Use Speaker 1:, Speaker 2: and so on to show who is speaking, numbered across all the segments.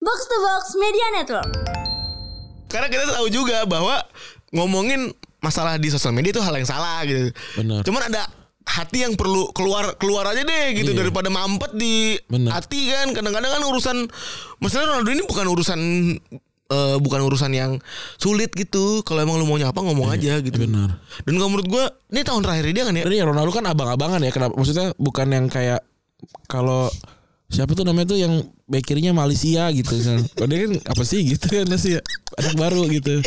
Speaker 1: Box to Box Media Network.
Speaker 2: Karena kita tahu juga bahwa ngomongin masalah di sosial media itu hal yang salah gitu.
Speaker 3: Benar.
Speaker 2: Cuman ada hati yang perlu keluar keluar aja deh gitu
Speaker 3: Iya.
Speaker 2: daripada mampet di
Speaker 3: Benar.
Speaker 2: hati kan. Kadang-kadang kan urusan masalah Ronaldo ini bukan urusan eh, bukan urusan yang sulit gitu. Kalau emang lu mau nyapa ngomong aja gitu.
Speaker 3: Iya, benar.
Speaker 2: Dan kalau menurut gua ini tahun terakhir dia kan ya.
Speaker 3: Ini ya Ronaldo kan abang-abangan ya. Kenapa? Maksudnya bukan yang kayak kalau siapa tuh namanya tuh yang bakernya Malaysia gitu. misalnya. Kalau dia kan apa sih gitu kan sih ya. anak baru gitu.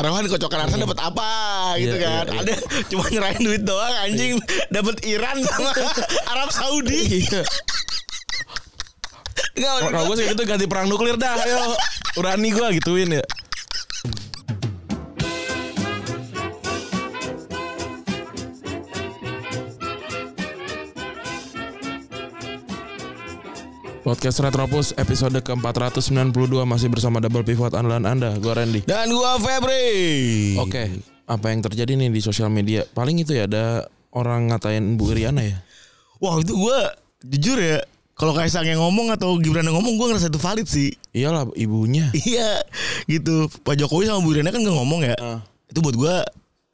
Speaker 2: Taruhan kocokan Arsenal dapat apa gitu
Speaker 3: Iya,
Speaker 2: kan.
Speaker 3: iya, iya.
Speaker 2: Ada cuma nyerahin duit doang anjing dapat Iran sama Arab
Speaker 3: Iya.
Speaker 2: Saudi. Enggak maksud
Speaker 3: Kalau
Speaker 2: gua-
Speaker 3: gue sih itu gitu, ganti perang nuklir dah. Ayo urani gue gituin ya. Podcast Retropus episode ke-492 masih bersama Double Pivot andalan Anda, gue Randy.
Speaker 2: Dan gua Febri.
Speaker 3: Oke, apa yang terjadi nih di sosial media? Paling itu ya ada orang ngatain Bu Iriana ya.
Speaker 2: Wah, itu gua jujur ya kalau Kaisang yang ngomong atau Gibran yang ngomong gua ngerasa itu valid sih.
Speaker 3: Iyalah ibunya.
Speaker 2: Iya, gitu. Pak Jokowi sama Bu Irina kan gak ngomong ya.
Speaker 3: Ah.
Speaker 2: Itu buat gua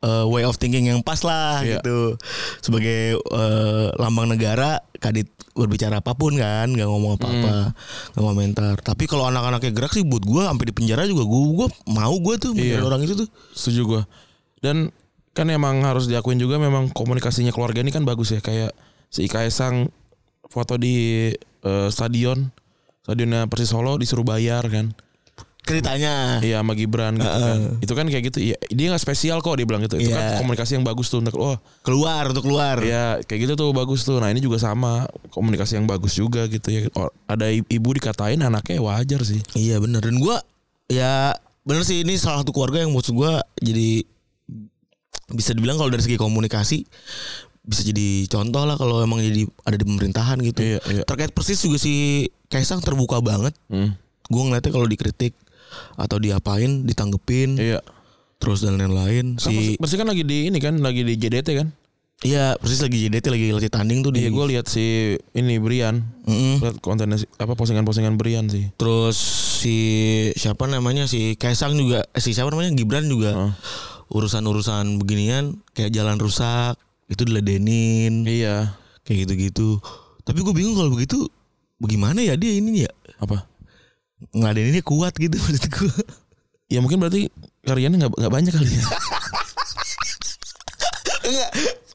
Speaker 2: eh, way of thinking yang pas lah
Speaker 3: Iya.
Speaker 2: gitu. Sebagai eh, lambang negara Kadit berbicara apapun kan, nggak ngomong apa-apa,
Speaker 3: Hmm.
Speaker 2: nggak komentar. Tapi kalau anak-anaknya gerak sih buat gua sampai di penjara juga gua, gua mau gua tuh bener
Speaker 3: Iya.
Speaker 2: orang itu tuh.
Speaker 3: Setuju gue. Dan kan emang harus diakuin juga memang komunikasinya keluarga ini kan bagus ya kayak si Kaisang foto di eh, stadion stadionnya Persis Solo disuruh bayar kan.
Speaker 2: Ceritanya.
Speaker 3: Iya sama Gibran gitu kan. Itu kan kayak gitu. Iya, dia nggak spesial kok dia bilang gitu. Itu
Speaker 2: Iya.
Speaker 3: kan komunikasi yang bagus tuh untuk oh
Speaker 2: Keluar untuk keluar.
Speaker 3: Ya kayak gitu tuh bagus tuh. Nah ini juga sama komunikasi yang bagus juga gitu ya. Or- Ada i- ibu dikatain anaknya ya wajar sih.
Speaker 2: Iya bener Dan gue Ya bener sih ini salah satu keluarga yang maksud gue Jadi Bisa dibilang kalau dari segi komunikasi Bisa jadi contoh lah Kalau emang jadi ada di pemerintahan gitu
Speaker 3: Iya, iya.
Speaker 2: Terkait persis juga si Kaisang terbuka banget
Speaker 3: Hmm.
Speaker 2: Gue ngeliatnya kalau dikritik Atau diapain Ditanggepin
Speaker 3: Iya.
Speaker 2: Terus dan lain-lain Si
Speaker 3: Si Persi kan lagi di ini kan lagi di JDT kan.
Speaker 2: Iya persis lagi JDT Lagi latih tanding tuh di
Speaker 3: Iya gue lihat si ini Brian.
Speaker 2: Mm-mm.
Speaker 3: Lihat kontennya si- apa postingan-postingan Brian sih.
Speaker 2: Terus si siapa namanya si Kaisang juga eh, si siapa namanya Gibran juga
Speaker 3: Heeh.
Speaker 2: urusan-urusan beginian kayak jalan rusak itu diladenin
Speaker 3: Iya.
Speaker 2: kayak gitu-gitu. Tapi gue bingung kalau begitu bagaimana ya dia ini ya
Speaker 3: Apa?
Speaker 2: ngeladeninnya kuat gitu maksud gue.
Speaker 3: Ya mungkin berarti karyanya nggak nggak banyak kali ya.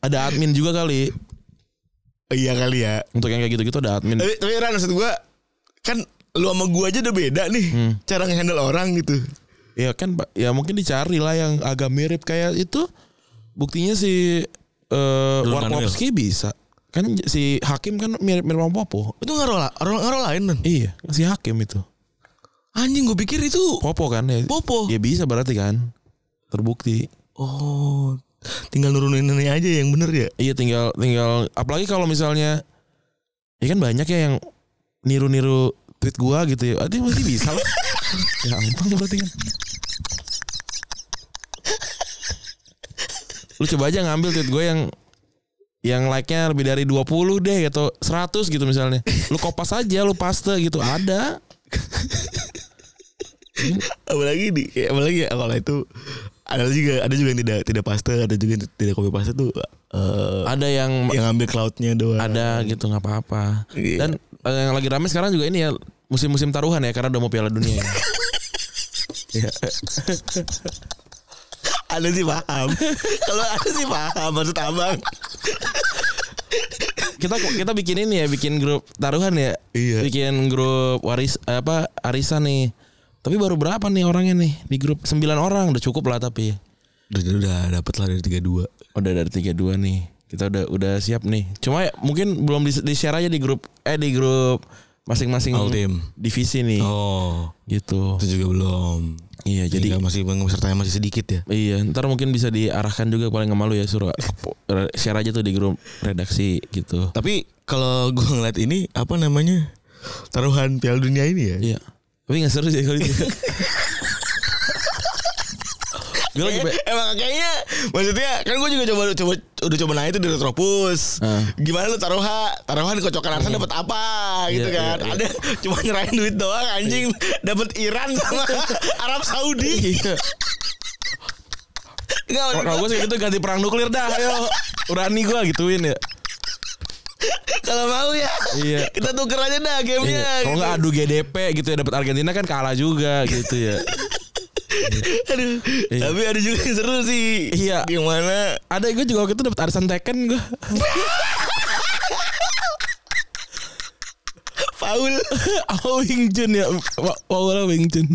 Speaker 3: ada admin juga kali
Speaker 2: Iya kali ya.
Speaker 3: untuk yang kayak gitu-gitu ada admin.
Speaker 2: Tapi tapi Ran maksud gue kan lu sama gue aja udah beda nih cara ngehandle orang gitu.
Speaker 3: Ya kan Pak. ya mungkin dicari lah yang agak mirip kayak itu. Buktinya si eh
Speaker 2: Ridwan
Speaker 3: Warkowski bisa. Kan j- si Hakim kan mirip mirip sama Popo.
Speaker 2: Itu ngaruh lah, ngaruh, ngaruh lain Dan.
Speaker 3: Iya, si Hakim itu.
Speaker 2: Anjing gue pikir itu
Speaker 3: Popo kan ya.
Speaker 2: Popo.
Speaker 3: Ya bisa berarti kan. Terbukti.
Speaker 2: Oh, tinggal nuruninnya aja yang bener ya.
Speaker 3: Iya tinggal tinggal apalagi kalau misalnya ya kan banyak ya yang niru-niru tweet gua gitu ya. Ah, Dia pasti bisa lah. Gampang berarti kan. Lu coba aja ngambil tweet gue yang yang like-nya lebih dari 20 deh atau 100 gitu misalnya. Lu kopas aja, lu paste gitu. Ada.
Speaker 2: apalagi di ya, apalagi ya kalau itu ada juga ada juga yang tidak tidak paste ada juga yang tidak copy paste tuh eh
Speaker 3: Ada yang
Speaker 2: yang ambil cloudnya doang
Speaker 3: ada gitu nggak apa-apa.
Speaker 2: Iya.
Speaker 3: Dan eh, yang lagi rame sekarang juga ini ya musim-musim taruhan ya karena udah mau Piala Dunia. Ya.
Speaker 2: ada sih paham kalau ada sih paham maksud abang
Speaker 3: kita kita bikin ini ya bikin grup taruhan ya
Speaker 2: Iya.
Speaker 3: bikin grup waris apa arisan nih tapi baru berapa nih orangnya nih di grup 9 orang udah cukup lah tapi
Speaker 2: udah udah dapet lah dari tiga dua
Speaker 3: udah dari 32 nih kita udah udah siap nih cuma ya, mungkin belum di, di share aja di grup eh di grup masing-masing
Speaker 2: All team.
Speaker 3: divisi nih
Speaker 2: oh
Speaker 3: gitu
Speaker 2: itu juga belum Ya,
Speaker 3: iya jadi
Speaker 2: jadi masih pesertanya masih sedikit ya
Speaker 3: Iya, ntar mungkin bisa diarahkan juga paling sama lu ya suruh share aja tuh di grup redaksi gitu.
Speaker 2: tapi kalau gue ngeliat ini apa namanya taruhan Piala Dunia ini ya
Speaker 3: Iya. Tapi gak seru sih kalau itu. Gue lagi be-
Speaker 2: Emang kayaknya maksudnya kan gue juga coba coba udah coba nanya itu di Retropus.
Speaker 3: Ah.
Speaker 2: Gimana lu taruha? Taruhan kocokan Arsenal dapat apa gitu
Speaker 3: Iya,
Speaker 2: kan.
Speaker 3: iya, iya.
Speaker 2: Ada cuma nyerahin duit doang anjing dapat Iran sama Arab Saudi.
Speaker 3: Iya.
Speaker 2: Enggak maksud
Speaker 3: Kalau
Speaker 2: gua,
Speaker 3: gue sih gitu ganti perang nuklir dah, ayo. Urani gue gituin ya.
Speaker 2: kalau mau ya.
Speaker 3: Iya.
Speaker 2: Kita tuker aja dah gamenya.
Speaker 3: Iya. Kalau nggak adu GDP gitu ya dapat Argentina kan kalah juga gitu ya.
Speaker 2: Aduh.
Speaker 3: Iya.
Speaker 2: Tapi ada juga yang seru sih.
Speaker 3: Iya.
Speaker 2: Yang mana?
Speaker 3: Ada gue juga waktu itu dapat arisan Tekken gue.
Speaker 2: Paul.
Speaker 3: Oh Wing Chun ya. Paula Wing Chun.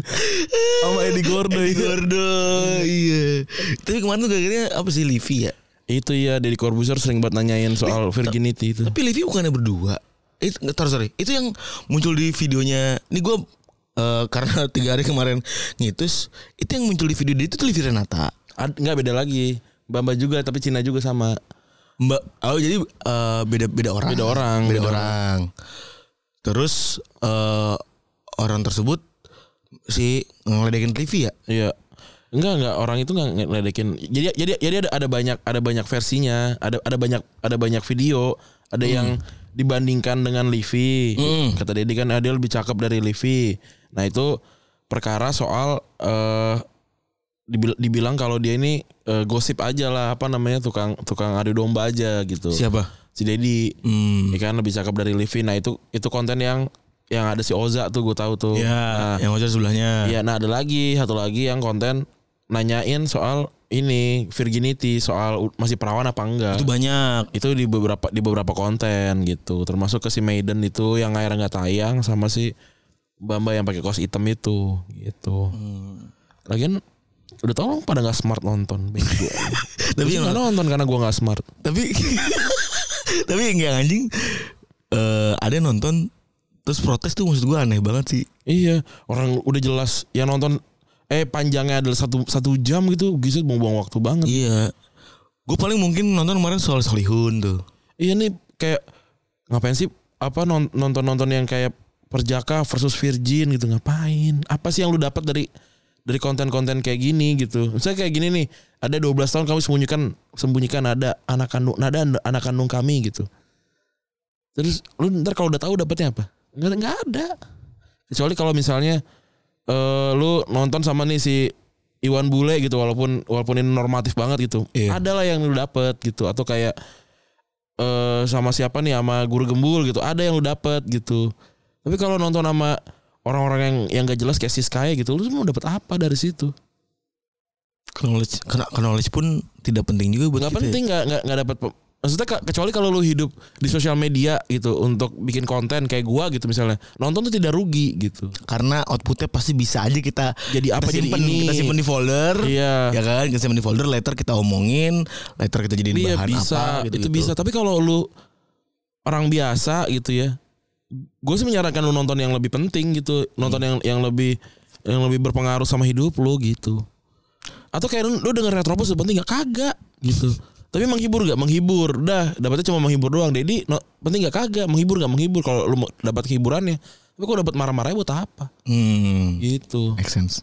Speaker 3: Sama Eddie Gordo
Speaker 2: Eddie
Speaker 3: itu.
Speaker 2: Gordo. Iya. Tapi kemarin tuh gara-gara apa sih Livi ya?
Speaker 3: Itu ya Deddy Corbuzier sering banget nanyain soal virginity itu.
Speaker 2: Tapi Livi bukannya berdua. Itu nggak, taruh, sorry. Itu yang muncul di videonya. Ini gue karena tiga hari kemarin ngitus, itu yang muncul di video dia itu tuh Livi Renata.
Speaker 3: Ad- Nggak beda lagi. Bamba juga tapi Cina juga sama.
Speaker 2: Mbak, oh jadi eh, beda beda orang.
Speaker 3: Beda orang,
Speaker 2: Beda,
Speaker 3: beda
Speaker 2: orang. Terus eh, orang tersebut si ngeledekin Livi ya.
Speaker 3: Iya. Enggak enggak orang itu enggak ngeledekin. Jadi jadi jadi ada ada banyak ada banyak versinya, ada ada banyak ada banyak video, ada yang dibandingkan dengan Livi.
Speaker 2: Hmm.
Speaker 3: Kata Dedi kan Adel lebih cakep dari Livi. Nah, itu perkara soal eh dibil- dibilang kalau dia ini eh, gosip aja lah apa namanya tukang tukang adu domba aja gitu.
Speaker 2: Siapa?
Speaker 3: Si Dedi
Speaker 2: Hmm.
Speaker 3: ini kan lebih cakep dari Livi. Nah, itu itu konten yang yang ada si Oza tuh gue tahu tuh.
Speaker 2: Ya,
Speaker 3: Nah,
Speaker 2: yang wajar sebelahnya.
Speaker 3: Iya, nah ada lagi satu lagi yang konten nanyain soal ini virginity soal u- masih perawan apa enggak.
Speaker 2: Itu
Speaker 3: Itu,
Speaker 2: banyak.
Speaker 3: di beberapa di beberapa konten gitu, termasuk ke si Maiden itu yang akhirnya nggak tayang sama si Bamba yang pakai kaos hitam itu gitu. Lagian udah tau orang pada nggak smart nonton. Bego.
Speaker 2: Tapi
Speaker 3: Tapi
Speaker 2: yang-
Speaker 3: nggak nonton karena gua nggak smart.
Speaker 2: tapi tapi enggak anjing eh ada yang nonton terus protes tuh maksud gue aneh banget sih
Speaker 3: Iya, orang udah jelas yang nonton eh panjangnya adalah satu satu jam gitu, gitu buang-buang waktu banget.
Speaker 2: iya gue paling mungkin nonton kemarin soal Solihun tuh
Speaker 3: Iya nih kayak ngapain sih apa nonton nonton yang kayak perjaka versus virgin gitu ngapain? Apa sih yang lu dapat dari dari konten-konten kayak gini gitu? Misalnya kayak gini nih, ada 12 tahun kami sembunyikan sembunyikan ada anak kandung ada anak kandung kami gitu. Terus lu ntar kalau udah tahu dapatnya apa? Nggak, nggak ada. Kecuali kalau misalnya eh lu nonton sama nih si Iwan Bule gitu walaupun walaupun ini normatif banget gitu.
Speaker 2: Iya.
Speaker 3: Ada lah yang lu dapet gitu atau kayak eh sama siapa nih sama guru gembul gitu. Ada yang lu dapet gitu. Tapi kalau nonton sama orang-orang yang yang gak jelas kayak Siskaya gitu, lu mau dapet apa dari situ?
Speaker 2: knowledge kena- knowledge pun tidak penting juga buat
Speaker 3: nggak
Speaker 2: kita ya.
Speaker 3: penting nggak nggak nggak dapat pe- maksudnya ke- kecuali kalau lu hidup di sosial media gitu untuk bikin konten kayak gua gitu misalnya nonton tuh tidak rugi gitu
Speaker 2: karena outputnya pasti bisa aja kita
Speaker 3: jadi apa
Speaker 2: kita
Speaker 3: jadi
Speaker 2: simpen,
Speaker 3: ini
Speaker 2: kita simpen di folder
Speaker 3: iya
Speaker 2: ya kan kita simpen di folder later kita omongin later kita jadiin
Speaker 3: Iya
Speaker 2: bahan
Speaker 3: bisa
Speaker 2: apa gitu
Speaker 3: itu bisa tapi kalau lu orang biasa gitu ya gue sih menyarankan lu nonton yang lebih penting gitu nonton
Speaker 2: Hmm.
Speaker 3: yang yang lebih yang lebih berpengaruh sama hidup lu gitu atau kayak lu, lu denger retropus lu penting gak kagak gitu tapi menghibur gak menghibur dah dapatnya cuma menghibur doang Dedi no, penting gak kagak menghibur gak menghibur kalau lu mau dapat hiburannya tapi kok dapat marah-marahnya buat apa
Speaker 2: hmm
Speaker 3: gitu
Speaker 2: make sense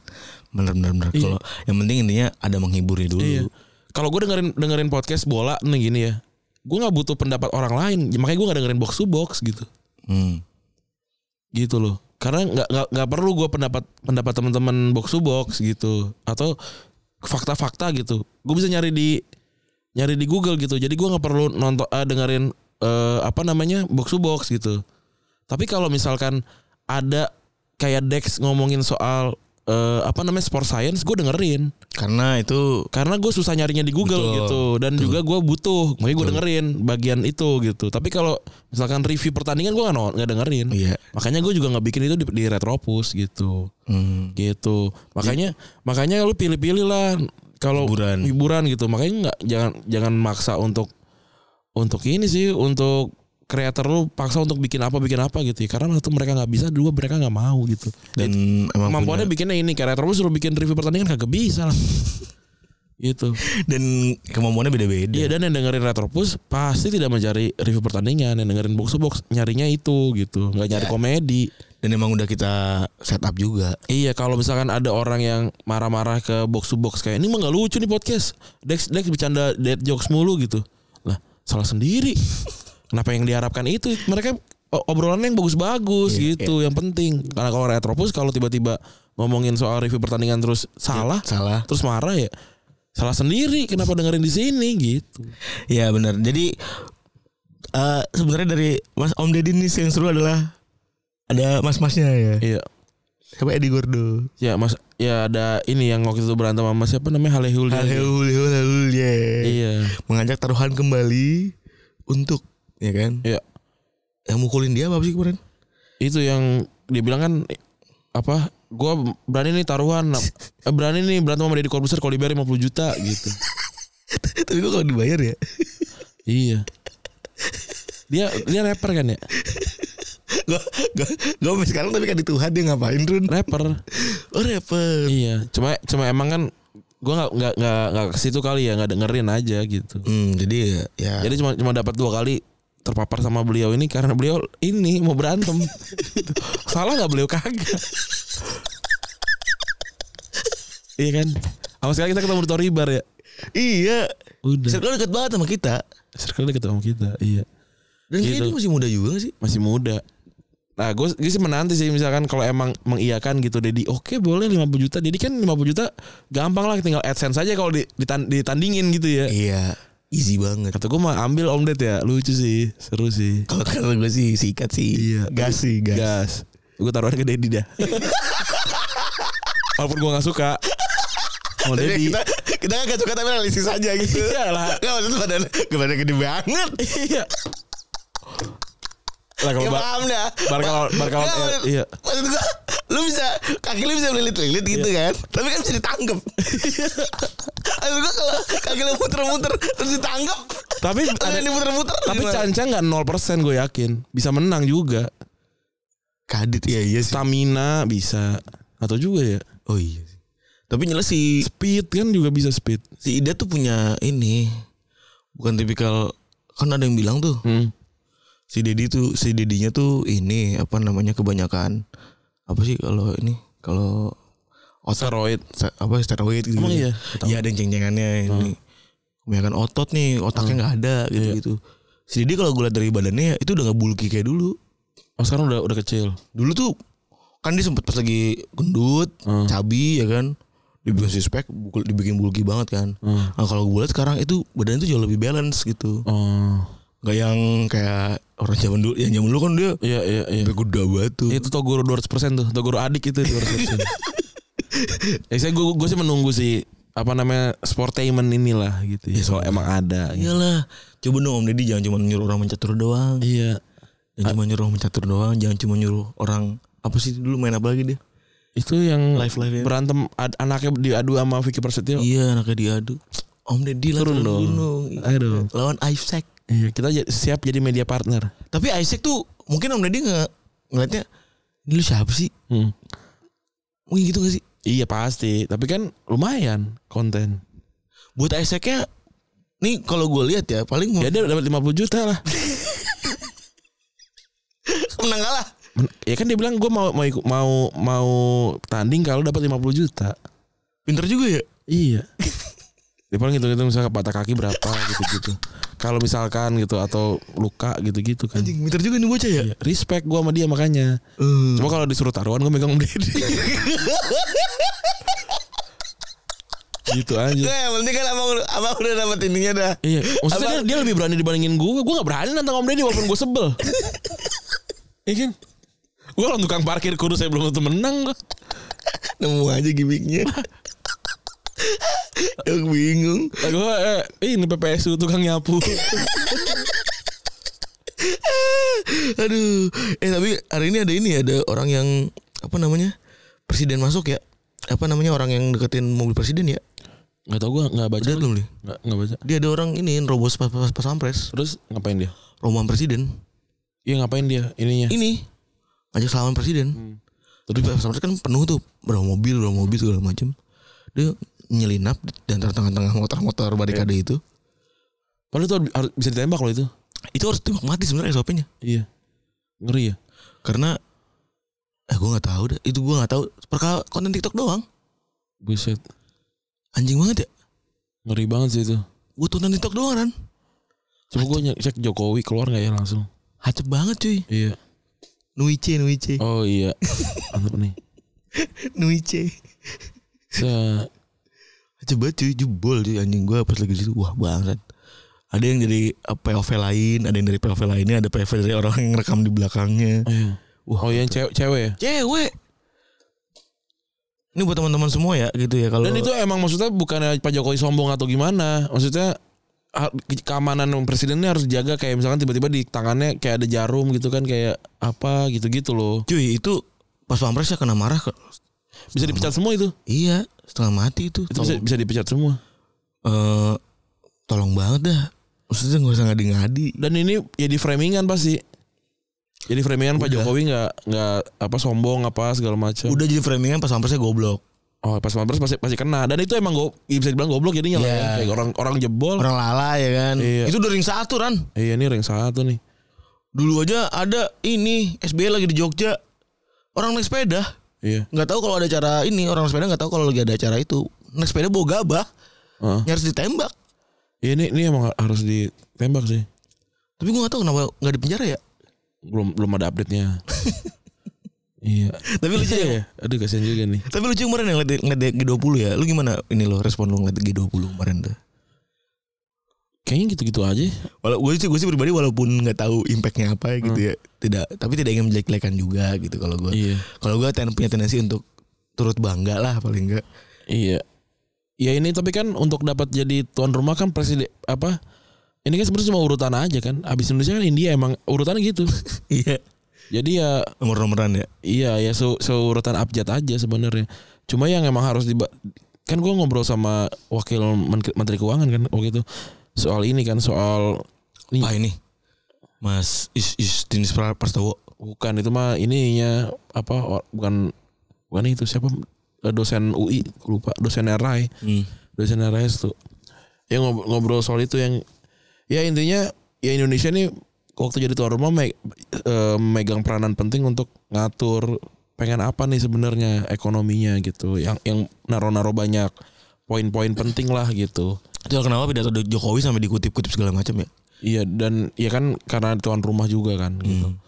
Speaker 2: bener bener bener kalau yang penting intinya ada menghiburnya dulu
Speaker 3: Iya. Kalau gue dengerin dengerin podcast bola nih gini ya, gue nggak butuh pendapat orang lain. Ya, Makanya gue nggak dengerin box to box gitu,
Speaker 2: hmm.
Speaker 3: gitu loh. Karena nggak nggak nggak perlu gue pendapat pendapat teman-teman box to box gitu atau fakta-fakta gitu. Gue bisa nyari di nyari di Google gitu. Jadi gue nggak perlu nonton eh, dengerin eh, apa namanya box to box gitu. Tapi kalau misalkan ada kayak Dex ngomongin soal eh, apa namanya sport science, gue dengerin.
Speaker 2: karena itu
Speaker 3: karena gue susah nyarinya di Google
Speaker 2: Betul.
Speaker 3: gitu dan juga gue butuh makanya gue dengerin bagian itu gitu tapi kalau misalkan review pertandingan gue nggak no- nggak dengerin
Speaker 2: iya
Speaker 3: makanya gue juga nggak bikin itu di, di retropus gitu
Speaker 2: hmm.
Speaker 3: gitu makanya makanya lu pilih-pilih lah kalau
Speaker 2: Hiburan.
Speaker 3: hiburan gitu makanya nggak jangan jangan maksa untuk untuk ini sih untuk kreator lu paksa untuk bikin apa bikin apa gitu ya. karena satu mereka nggak bisa dua mereka nggak mau gitu
Speaker 2: dan emang
Speaker 3: kemampuannya bikinnya ini kreator lu suruh bikin review pertandingan kagak bisa lah gitu
Speaker 2: punya- dan kemampuannya beda-beda.
Speaker 3: Iya dan yang dengerin Retropus
Speaker 2: Iya.
Speaker 3: pasti tidak mencari review pertandingan, yang dengerin box to box nyarinya itu gitu, nggak nyari komedi.
Speaker 2: dan emang udah kita setup juga
Speaker 3: Iya kalau misalkan ada orang yang marah-marah ke box to box kayak ini mah gak lucu nih podcast. Dex Dex bercanda dead jokes mulu gitu. Lah salah sendiri. Kenapa yang diharapkan itu? Mereka o- obrolannya yang bagus-bagus
Speaker 2: Iya,
Speaker 3: gitu yang penting. Karena kalau Retropus kalau tiba-tiba ngomongin soal review pertandingan terus salah,
Speaker 2: salah
Speaker 3: terus marah ya salah sendiri. Kenapa dengerin di sini gitu?
Speaker 2: Iya benar. Jadi eh sebenarnya dari Mas Om Deddy ini yang seru adalah ada mas-masnya ya.
Speaker 3: Iya.
Speaker 2: Siapa Edi Gordo?
Speaker 3: Ya Mas ya ada ini yang waktu itu berantem sama siapa namanya Halehul.
Speaker 2: Halul, halul, halul, ya.
Speaker 3: Iya.
Speaker 2: Mengajak taruhan kembali untuk ya kan?
Speaker 3: Iya.
Speaker 2: Yang mukulin dia apa sih kemarin?
Speaker 3: itu yang dia bilang kan eh, apa gua berani nih taruhan eh, berani nih berantem sama Deddy Corbuzier kalau dibayar 50 juta gitu
Speaker 2: Tapi kok kalau dibayar ya?
Speaker 3: iya dia dia rapper kan ya
Speaker 2: gua gua gua sampai sekarang tapi kan di Tuhan dia ngapain Run?
Speaker 3: rapper
Speaker 2: Oh rapper.
Speaker 3: iya cuma cuma emang kan gua nggak nggak nggak nggak ke situ kali ya nggak dengerin aja gitu
Speaker 2: Hmm, jadi ya, ya.
Speaker 3: Nah. jadi cuma cuma dapat dua kali terpapar sama beliau ini karena beliau ini mau berantem salah nggak beliau kagak iya kan sama sekali kita ketemu di Toribar ya
Speaker 2: iya.
Speaker 3: udah
Speaker 2: Circle deket banget sama kita.
Speaker 3: Circle deket sama kita Iya
Speaker 2: Dan
Speaker 3: Gitu.
Speaker 2: kayaknya dia masih muda juga gak sih.
Speaker 3: Masih muda Nah gue, gue sih menanti sih Misalkan kalau emang mengiyakan gitu Dedi oke boleh 50 juta Jadi kan 50 juta Gampang lah tinggal adsense aja Kalau di- ditan- ditandingin gitu ya
Speaker 2: Iya, easy banget.
Speaker 3: Kata gue mah ambil om Ded ya Lucu sih Seru sih
Speaker 2: Kalau kata gue sih sikat sih.
Speaker 3: Iya.
Speaker 2: Gas sih, gas.
Speaker 3: Gas Gue taruhan ke Dedi dah Walaupun gue gak suka Sama
Speaker 2: Jadi
Speaker 3: Dedi
Speaker 2: kita kita kan gak suka tapi analisis aja gitu.
Speaker 3: Iyalah.
Speaker 2: Gak maksud badan badan gede banget.
Speaker 3: Iya Lah kalau
Speaker 2: Ya
Speaker 3: bar-
Speaker 2: paham dah.
Speaker 3: Oh, bar kalau- bar kalau-
Speaker 2: Nggak, maksud-
Speaker 3: iya.
Speaker 2: Maksud gua lu bisa kaki lu bisa melilit-lilit gitu kan. Tapi kan bisa ditangkep. Maksud gua kalau kaki lu muter-muter terus ditangkep.
Speaker 3: Tapi
Speaker 2: Terus
Speaker 3: ada-
Speaker 2: yang diputer-puter.
Speaker 3: Tapi
Speaker 2: gimana?
Speaker 3: Canca gak 0% gue yakin Bisa menang juga
Speaker 2: kadit ya iya sih.
Speaker 3: stamina bisa atau juga ya
Speaker 2: Oh iya sih. Tapi nyala si
Speaker 3: speed kan juga bisa speed
Speaker 2: si Ida tuh punya ini bukan tipikal kan ada yang bilang tuh si Dedi tuh si Dedinya tuh ini apa namanya kebanyakan apa sih kalau ini kalau otot
Speaker 3: steroid
Speaker 2: sta- apa steroid gitu.
Speaker 3: Emang iya? Hmm.
Speaker 2: Iya ada yang ceng-cengannya ini. Kebanyakan otot nih, otaknya nggak ada gitu gitu.
Speaker 3: Iya.
Speaker 2: Si Dedi kalau gue liat dari badannya ya, itu udah nggak bulky kayak dulu.
Speaker 3: oh sekarang udah udah kecil
Speaker 2: Dulu tuh kan dia sempet pas lagi gendut,
Speaker 3: Hmm.
Speaker 2: cabi ya kan. Dibikin six pack, bukul- dibikin bulky banget kan.
Speaker 3: Hmm.
Speaker 2: Nah kalau gue liat sekarang itu badannya tuh jauh lebih balance gitu.
Speaker 3: oh
Speaker 2: Gak yang kayak orang zaman dulu, yang zaman dulu kan dia
Speaker 3: iya iya iya
Speaker 2: sampai gede banget tuh.
Speaker 3: itu Toguro 200% tuh Toguro adik itu 200% ya saya gue gue sih menunggu sih apa namanya sportainment inilah gitu ya kalau emang ada gitu.
Speaker 2: Iyalah, coba dong Om Deddy jangan cuma nyuruh orang mencatur doang.
Speaker 3: iya
Speaker 2: Jangan cuma nyuruh orang mencatur doang, jangan cuma nyuruh orang apa sih dulu main apa lagi dia?
Speaker 3: itu yang
Speaker 2: Live live ya.
Speaker 3: berantem ad- anaknya diadu sama Vicky Persetio
Speaker 2: Iya, anaknya diadu. Om Deddy lah
Speaker 3: Turun
Speaker 2: turun
Speaker 3: dong.
Speaker 2: gunung.
Speaker 3: Ayo dong.
Speaker 2: Lawan Isaac.
Speaker 3: Iya, kita j- siap jadi media partner
Speaker 2: Tapi Isaac tuh mungkin Om Deddy nggak ngeliatnya ini lu siapa sih?
Speaker 3: Hmm.
Speaker 2: Mungkin gitu gak sih?
Speaker 3: iya pasti tapi kan lumayan konten
Speaker 2: Buat Isaacnya nih kalau gue lihat ya paling
Speaker 3: Ya dia dapat 50 juta lah.
Speaker 2: menang kalah.
Speaker 3: Men- Ya kan dia bilang gue mau mau ikut- mau mau tanding kalau dapat 50 juta.
Speaker 2: Pinter juga ya.
Speaker 3: Iya. dia paling hitung-hitung misalnya patah kaki berapa gitu-gitu. Kalau misalkan gitu atau luka gitu-gitu kan.
Speaker 2: Anjing, pinter juga nih bocah ya.
Speaker 3: Ya, respect gue sama dia makanya.
Speaker 2: Eh.
Speaker 3: Cuma kalau disuruh taruhan gue megang Om Deddy. gitu aja.
Speaker 2: Nggak, yang penting kan abang, abang udah dapet ininya dah.
Speaker 3: Iya, maksudnya dia,
Speaker 2: Abang-
Speaker 3: dia lebih berani dibandingin gue. Gue gak berani nantang Om Deddy walaupun gue sebel. Iya kan? Gue orang tukang parkir kurus saya belum tentu menang gue. kan-
Speaker 2: Nemu aja gimmicknya. Aku bingung.
Speaker 3: Gue eh, ini PPSU tukang nyapu.
Speaker 2: Aduh. Eh tapi hari ini ada ini ya, ada orang yang apa namanya? Presiden masuk ya. Apa namanya orang yang deketin mobil presiden ya?
Speaker 3: Gak tau gue gak baca.
Speaker 2: Udah belum nih?
Speaker 3: Gak, gak baca.
Speaker 2: Dia ada orang ini robos pas pas, pas pampres.
Speaker 3: Terus ngapain dia?
Speaker 2: Rombongan presiden.
Speaker 3: Iya ngapain dia ininya?
Speaker 2: Ini ngajak salaman presiden. Tapi pas pampres kan penuh tuh, berapa mobil, berapa mobil segala macam. Dia nyelinap di antara tengah-tengah motor-motor barikade itu.
Speaker 3: Padahal tuh harus bisa ditembak loh itu.
Speaker 2: Itu harus tembak mati sebenarnya SOP-nya.
Speaker 3: Iya. Ngeri ya.
Speaker 2: Karena eh gue nggak tahu dah itu gue nggak tahu perkara konten TikTok doang
Speaker 3: Buset.
Speaker 2: anjing banget ya
Speaker 3: Ngeri banget sih itu.
Speaker 2: gue tonton TikTok doang kan
Speaker 3: Coba gue nye- cek Jokowi keluar nggak ya langsung.
Speaker 2: hacep banget cuy
Speaker 3: Iya.
Speaker 2: nuice nuice
Speaker 3: Oh iya. Mantap nih.
Speaker 2: nuice
Speaker 3: Se
Speaker 2: hacep banget cuy jebol cuy anjing gue pas lagi di situ wah bangsat ada yang dari eh, POV lain ada yang dari POV lainnya ada POV dari orang yang rekam di belakangnya
Speaker 3: oh, iya.
Speaker 2: Wah,
Speaker 3: oh yang cewek, cewek ya.
Speaker 2: cewek ini buat teman-teman semua ya gitu ya kalau
Speaker 3: Dan itu emang maksudnya bukan Pak Jokowi sombong atau gimana. Maksudnya ha- ke- keamanan presidennya harus dijaga kayak misalkan tiba-tiba di tangannya kayak ada jarum gitu kan kayak apa gitu-gitu loh.
Speaker 2: cuy itu pas pampresnya kena marah ke
Speaker 3: Bisa dipecat semua itu.
Speaker 2: iya setengah mati itu,
Speaker 3: Itu bisa,
Speaker 2: Tolong-
Speaker 3: bisa dipecat semua.
Speaker 2: eh, tolong banget dah maksudnya nggak usah ngadi-ngadi
Speaker 3: Dan ini jadi framingan pasti. Jadi framingan Pak
Speaker 2: Udah.
Speaker 3: Jokowi nggak nggak apa sombong apa segala macam.
Speaker 2: udah jadi framingan pas pampresnya goblok
Speaker 3: Oh pas pampres pasti pasti kena. Dan itu emang go, ya bisa dibilang goblok jadinya lah
Speaker 2: Iya.
Speaker 3: ya. Kayak orang orang jebol.
Speaker 2: orang lala ya kan
Speaker 3: Iya.
Speaker 2: itu dari satu kan
Speaker 3: Iya ini ring satu nih.
Speaker 2: dulu aja ada ini SBY lagi di Jogja orang naik sepeda
Speaker 3: Iya.
Speaker 2: nggak tahu kalau ada acara ini orang naik sepeda nggak tahu kalau lagi ada acara itu naik sepeda bawa gabah
Speaker 3: Heeh.
Speaker 2: nyaris ditembak
Speaker 3: Iya, ini ini emang harus ditembak sih.
Speaker 2: tapi gue nggak tahu kenapa nggak di penjara ya
Speaker 3: Belum belum ada update-nya. iya.
Speaker 2: tapi lucu ya
Speaker 3: Iya. Aduh kasihan juga nih.
Speaker 2: Tapi lucu kemarin yang ngeliat, ngeliat G20 ya Lu gimana ini lo respon lu ngeliat G20 kemarin tuh
Speaker 3: Kayaknya gitu-gitu aja.
Speaker 2: Walau gue sih gue sih pribadi walaupun nggak tahu impactnya apa ya gitu ya tidak tapi tidak ingin menjelek-jelekan juga gitu kalau gue
Speaker 3: Iya.
Speaker 2: kalau gue ten, punya tendensi untuk turut bangga lah paling enggak
Speaker 3: Iya. Ya ini tapi kan untuk dapat jadi tuan rumah kan presiden apa? Ini kan sebenarnya cuma urutan aja kan. Abis Indonesia kan India emang urutannya gitu.
Speaker 2: iya
Speaker 3: Jadi ya
Speaker 2: nomor-nomoran ya
Speaker 3: Iya ya se seurutan abjad aja sebenarnya. Cuma yang emang harus di kan gue ngobrol sama wakil Men- menteri keuangan kan waktu itu soal ini kan soal ini
Speaker 2: Pak ini Mas Is Is Dinis Pra- Prastowo
Speaker 3: bukan itu mah ininya apa or- bukan bukan itu siapa Eh, dosen UI lupa dosen RI
Speaker 2: hmm.
Speaker 3: dosen RS tuh ya ngob- ngobrol soal itu yang ya intinya ya Indonesia nih waktu jadi tuan rumah me- eh, megang peranan penting untuk ngatur pengen apa nih sebenarnya ekonominya gitu yang yang naro-naro banyak poin-poin penting lah gitu
Speaker 2: Itu kenapa pidato Jokowi sampai dikutip-kutip segala macam ya
Speaker 3: iya dan ya kan karena tuan rumah juga kan gitu
Speaker 2: Hmm.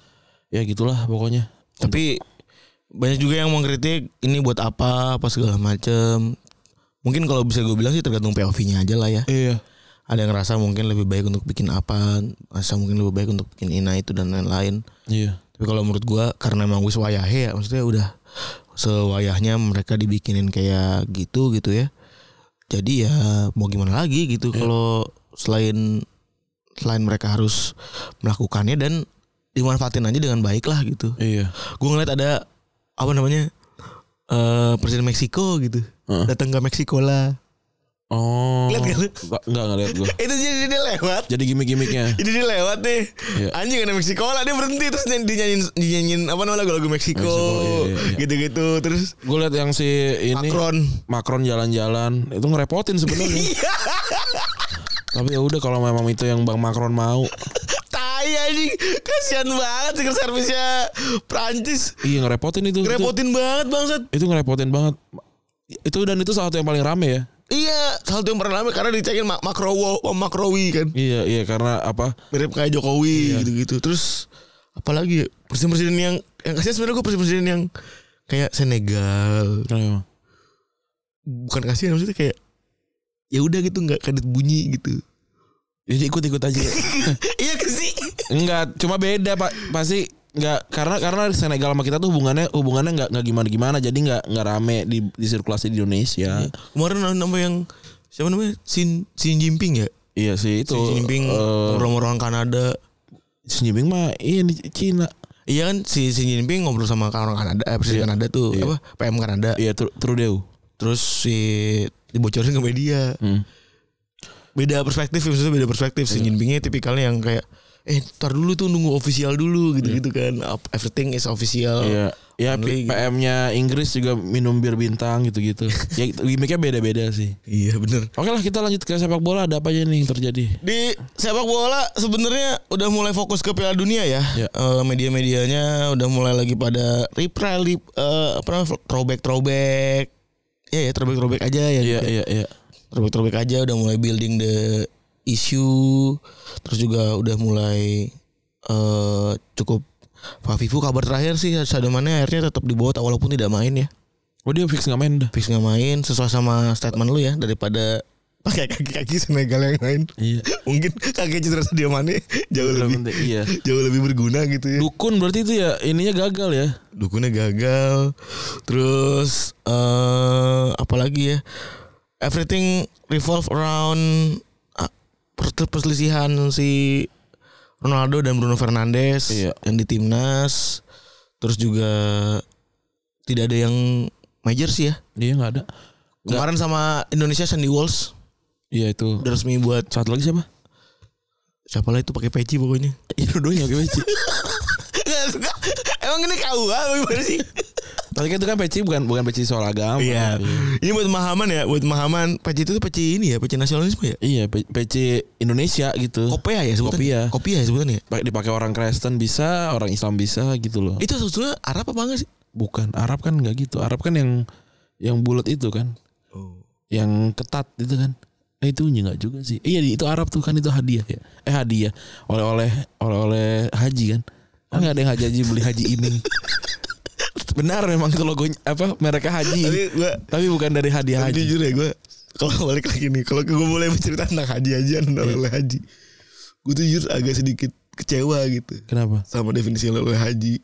Speaker 3: ya gitulah pokoknya
Speaker 2: Tapi banyak juga yang mengkritik ini buat apa apa segala macem Mungkin kalau bisa gue bilang sih tergantung POV-nya aja lah ya.
Speaker 3: iya
Speaker 2: Ada yang ngerasa mungkin lebih baik untuk bikin apa, rasa mungkin lebih baik untuk bikin ina itu dan lain-lain.
Speaker 3: iya
Speaker 2: Tapi kalau menurut gua karena emang wis wayahe ya, maksudnya udah sewayahnya mereka dibikinin kayak gitu gitu ya. Jadi ya mau gimana lagi gitu kalau selain selain mereka harus melakukannya dan dimanfaatin aja dengan baik lah gitu
Speaker 3: iya
Speaker 2: gue ngeliat ada apa namanya eh presiden Meksiko gitu
Speaker 3: Heeh.
Speaker 2: datang ke Meksiko lah
Speaker 3: oh
Speaker 2: Lihat nggak lu?
Speaker 3: nggak nggak ngeliat gue
Speaker 2: itu jadi dia lewat
Speaker 3: jadi gimmick-gimmicknya
Speaker 2: jadi dia lewat nih
Speaker 3: Iya.
Speaker 2: anjing ada Meksiko lah dia berhenti terus nyanyi- dinyanyiin dinyanyiin apa namanya lagu-lagu Meksiko
Speaker 3: Meksiko, iya, iya, iya.
Speaker 2: gitu-gitu terus
Speaker 3: gue liat yang si ini
Speaker 2: Macron
Speaker 3: Macron jalan-jalan itu ngerepotin sebenarnya. Tapi ya udah kalau memang itu yang Bang Macron mau,
Speaker 2: tai anjing kasihan banget secret service-nya Prancis
Speaker 3: iya ngerepotin itu.
Speaker 2: ngerepotin banget bangsat
Speaker 3: Itu, itu ngerepotin banget. Itu dan itu salah satu yang paling rame ya.
Speaker 2: iya salah satu yang pernah lama karena dicekin mak makrowo makrowi kan
Speaker 3: Iya, iya karena apa?
Speaker 2: mirip kayak Jokowi
Speaker 3: Iya.
Speaker 2: gitu-gitu. Terus apalagi ya, presiden-presiden yang yang kasihan sebenarnya gue presiden-presiden yang kayak Senegal
Speaker 3: Kenapa?
Speaker 2: bukan kasihan maksudnya kayak ya udah gitu nggak kadit bunyi gitu.
Speaker 3: Jadi ikut-ikut ya aja.
Speaker 2: iya kan sih.
Speaker 3: Enggak, cuma beda Pak. Pasti enggak karena karena Senegal sama kita tuh hubungannya hubungannya enggak enggak gimana-gimana. Jadi enggak enggak rame di di sirkulasi di Indonesia.
Speaker 2: Kemarin nama- nama yang siapa namanya Xin Xin Jinping ya?
Speaker 3: Iya sih itu.
Speaker 2: Xi Jinping
Speaker 3: Eh,
Speaker 2: orang-orang Kanada.
Speaker 3: Xi Jinping mah ini Cina.
Speaker 2: Iya kan si Xi Jinping ngobrol sama orang Kanada, eh, presiden
Speaker 3: Iya.
Speaker 2: Kanada tuh
Speaker 3: Iya.
Speaker 2: apa PM Kanada.
Speaker 3: Iya Tru- Trudeau.
Speaker 2: Terus si dibocorin ke media.
Speaker 3: Hmm. Iya.
Speaker 2: beda perspektif maksudnya beda perspektif Xi Jinpingnya tipikalnya yang kayak eh tar dulu tuh nunggu official dulu gitu-gitu kan. Up- Everything is official.
Speaker 3: Iya. Ya
Speaker 2: Only gitu.
Speaker 3: PM-nya Inggris juga minum bir bintang gitu-gitu. ya gimmicknya beda-beda sih.
Speaker 2: Iya bener.
Speaker 3: Oke lah kita lanjut ke sepak bola ada apa aja nih yang terjadi?
Speaker 2: Di sepak bola sebenarnya udah mulai fokus ke Piala Dunia ya.
Speaker 3: Ya.
Speaker 2: Eh, media-medianya udah mulai lagi pada reply lip, eh, apa namanya throwback throwback. Ya ya throwback throwback aja ya.
Speaker 3: Iya iya iya.
Speaker 2: Throwback-throwback aja udah mulai building the issue. Terus juga udah mulai eh cukup Fafifu kabar terakhir sih Sadomannya akhirnya tetap dibawa walaupun tidak main ya.
Speaker 3: Oh dia fix nggak main dah.
Speaker 2: Fix nggak main sesuai sama statement lu ya daripada pakai kaki-kaki Senegal yang lain.
Speaker 3: Iya.
Speaker 2: Mungkin kaki cedera Sadio Mane jauh lebih
Speaker 3: Iya.
Speaker 2: jauh lebih berguna gitu ya.
Speaker 3: Dukun berarti itu ya ininya gagal ya.
Speaker 2: Dukunnya gagal. Terus eh apalagi ya? Everything revolve around ah, per- perselisihan si Ronaldo dan Bruno Fernandes
Speaker 3: Iya.
Speaker 2: yang di timnas. Terus juga tidak ada yang major sih ya.
Speaker 3: Dia Iya, nggak ada. Nggak.
Speaker 2: Kemarin sama Indonesia Sandy Walsh
Speaker 3: Iya itu.
Speaker 2: udah resmi buat
Speaker 3: Satu lagi siapa?
Speaker 2: siapa lah itu pakai peci pokoknya.
Speaker 3: Iya dua-duanya pakai peci.
Speaker 2: Emang ini KUA apa gimana sih?
Speaker 3: Tapi kan itu kan peci bukan bukan peci soal agama.
Speaker 2: Iya. Ini buat pemahaman ya, buat pemahaman peci itu tuh peci ini ya, peci nasionalisme ya.
Speaker 3: Iya, pe- peci Indonesia gitu.
Speaker 2: Kopea ya
Speaker 3: Kopea.
Speaker 2: sebutannya. Kopea ya sebutannya. ya?
Speaker 3: Pak- dipakai orang Kristen bisa, orang Islam bisa gitu loh.
Speaker 2: Itu sebetulnya Arab apa enggak sih?
Speaker 3: Bukan Arab kan nggak gitu. Arab kan yang yang bulat itu kan,
Speaker 2: Oh.
Speaker 3: yang ketat itu kan. Eh itu enggak juga sih. Iya di- itu Arab tuh kan itu hadiah ya. Eh hadiah oleh-oleh oleh-oleh haji kan. Kan nggak ada yang haji haji beli haji iming. Benar memang itu logonya apa mereka
Speaker 2: Tapi
Speaker 3: haji.
Speaker 2: gua
Speaker 3: Tapi bukan dari hadiah
Speaker 2: tapi
Speaker 3: haji.
Speaker 2: jujur ya gua kalau balik lagi nih, kalau gua boleh bercerita tentang haji hajian dan oleh haji. Gua tuh jujur agak sedikit kecewa gitu
Speaker 3: Kenapa?
Speaker 2: sama definisi oleh haji.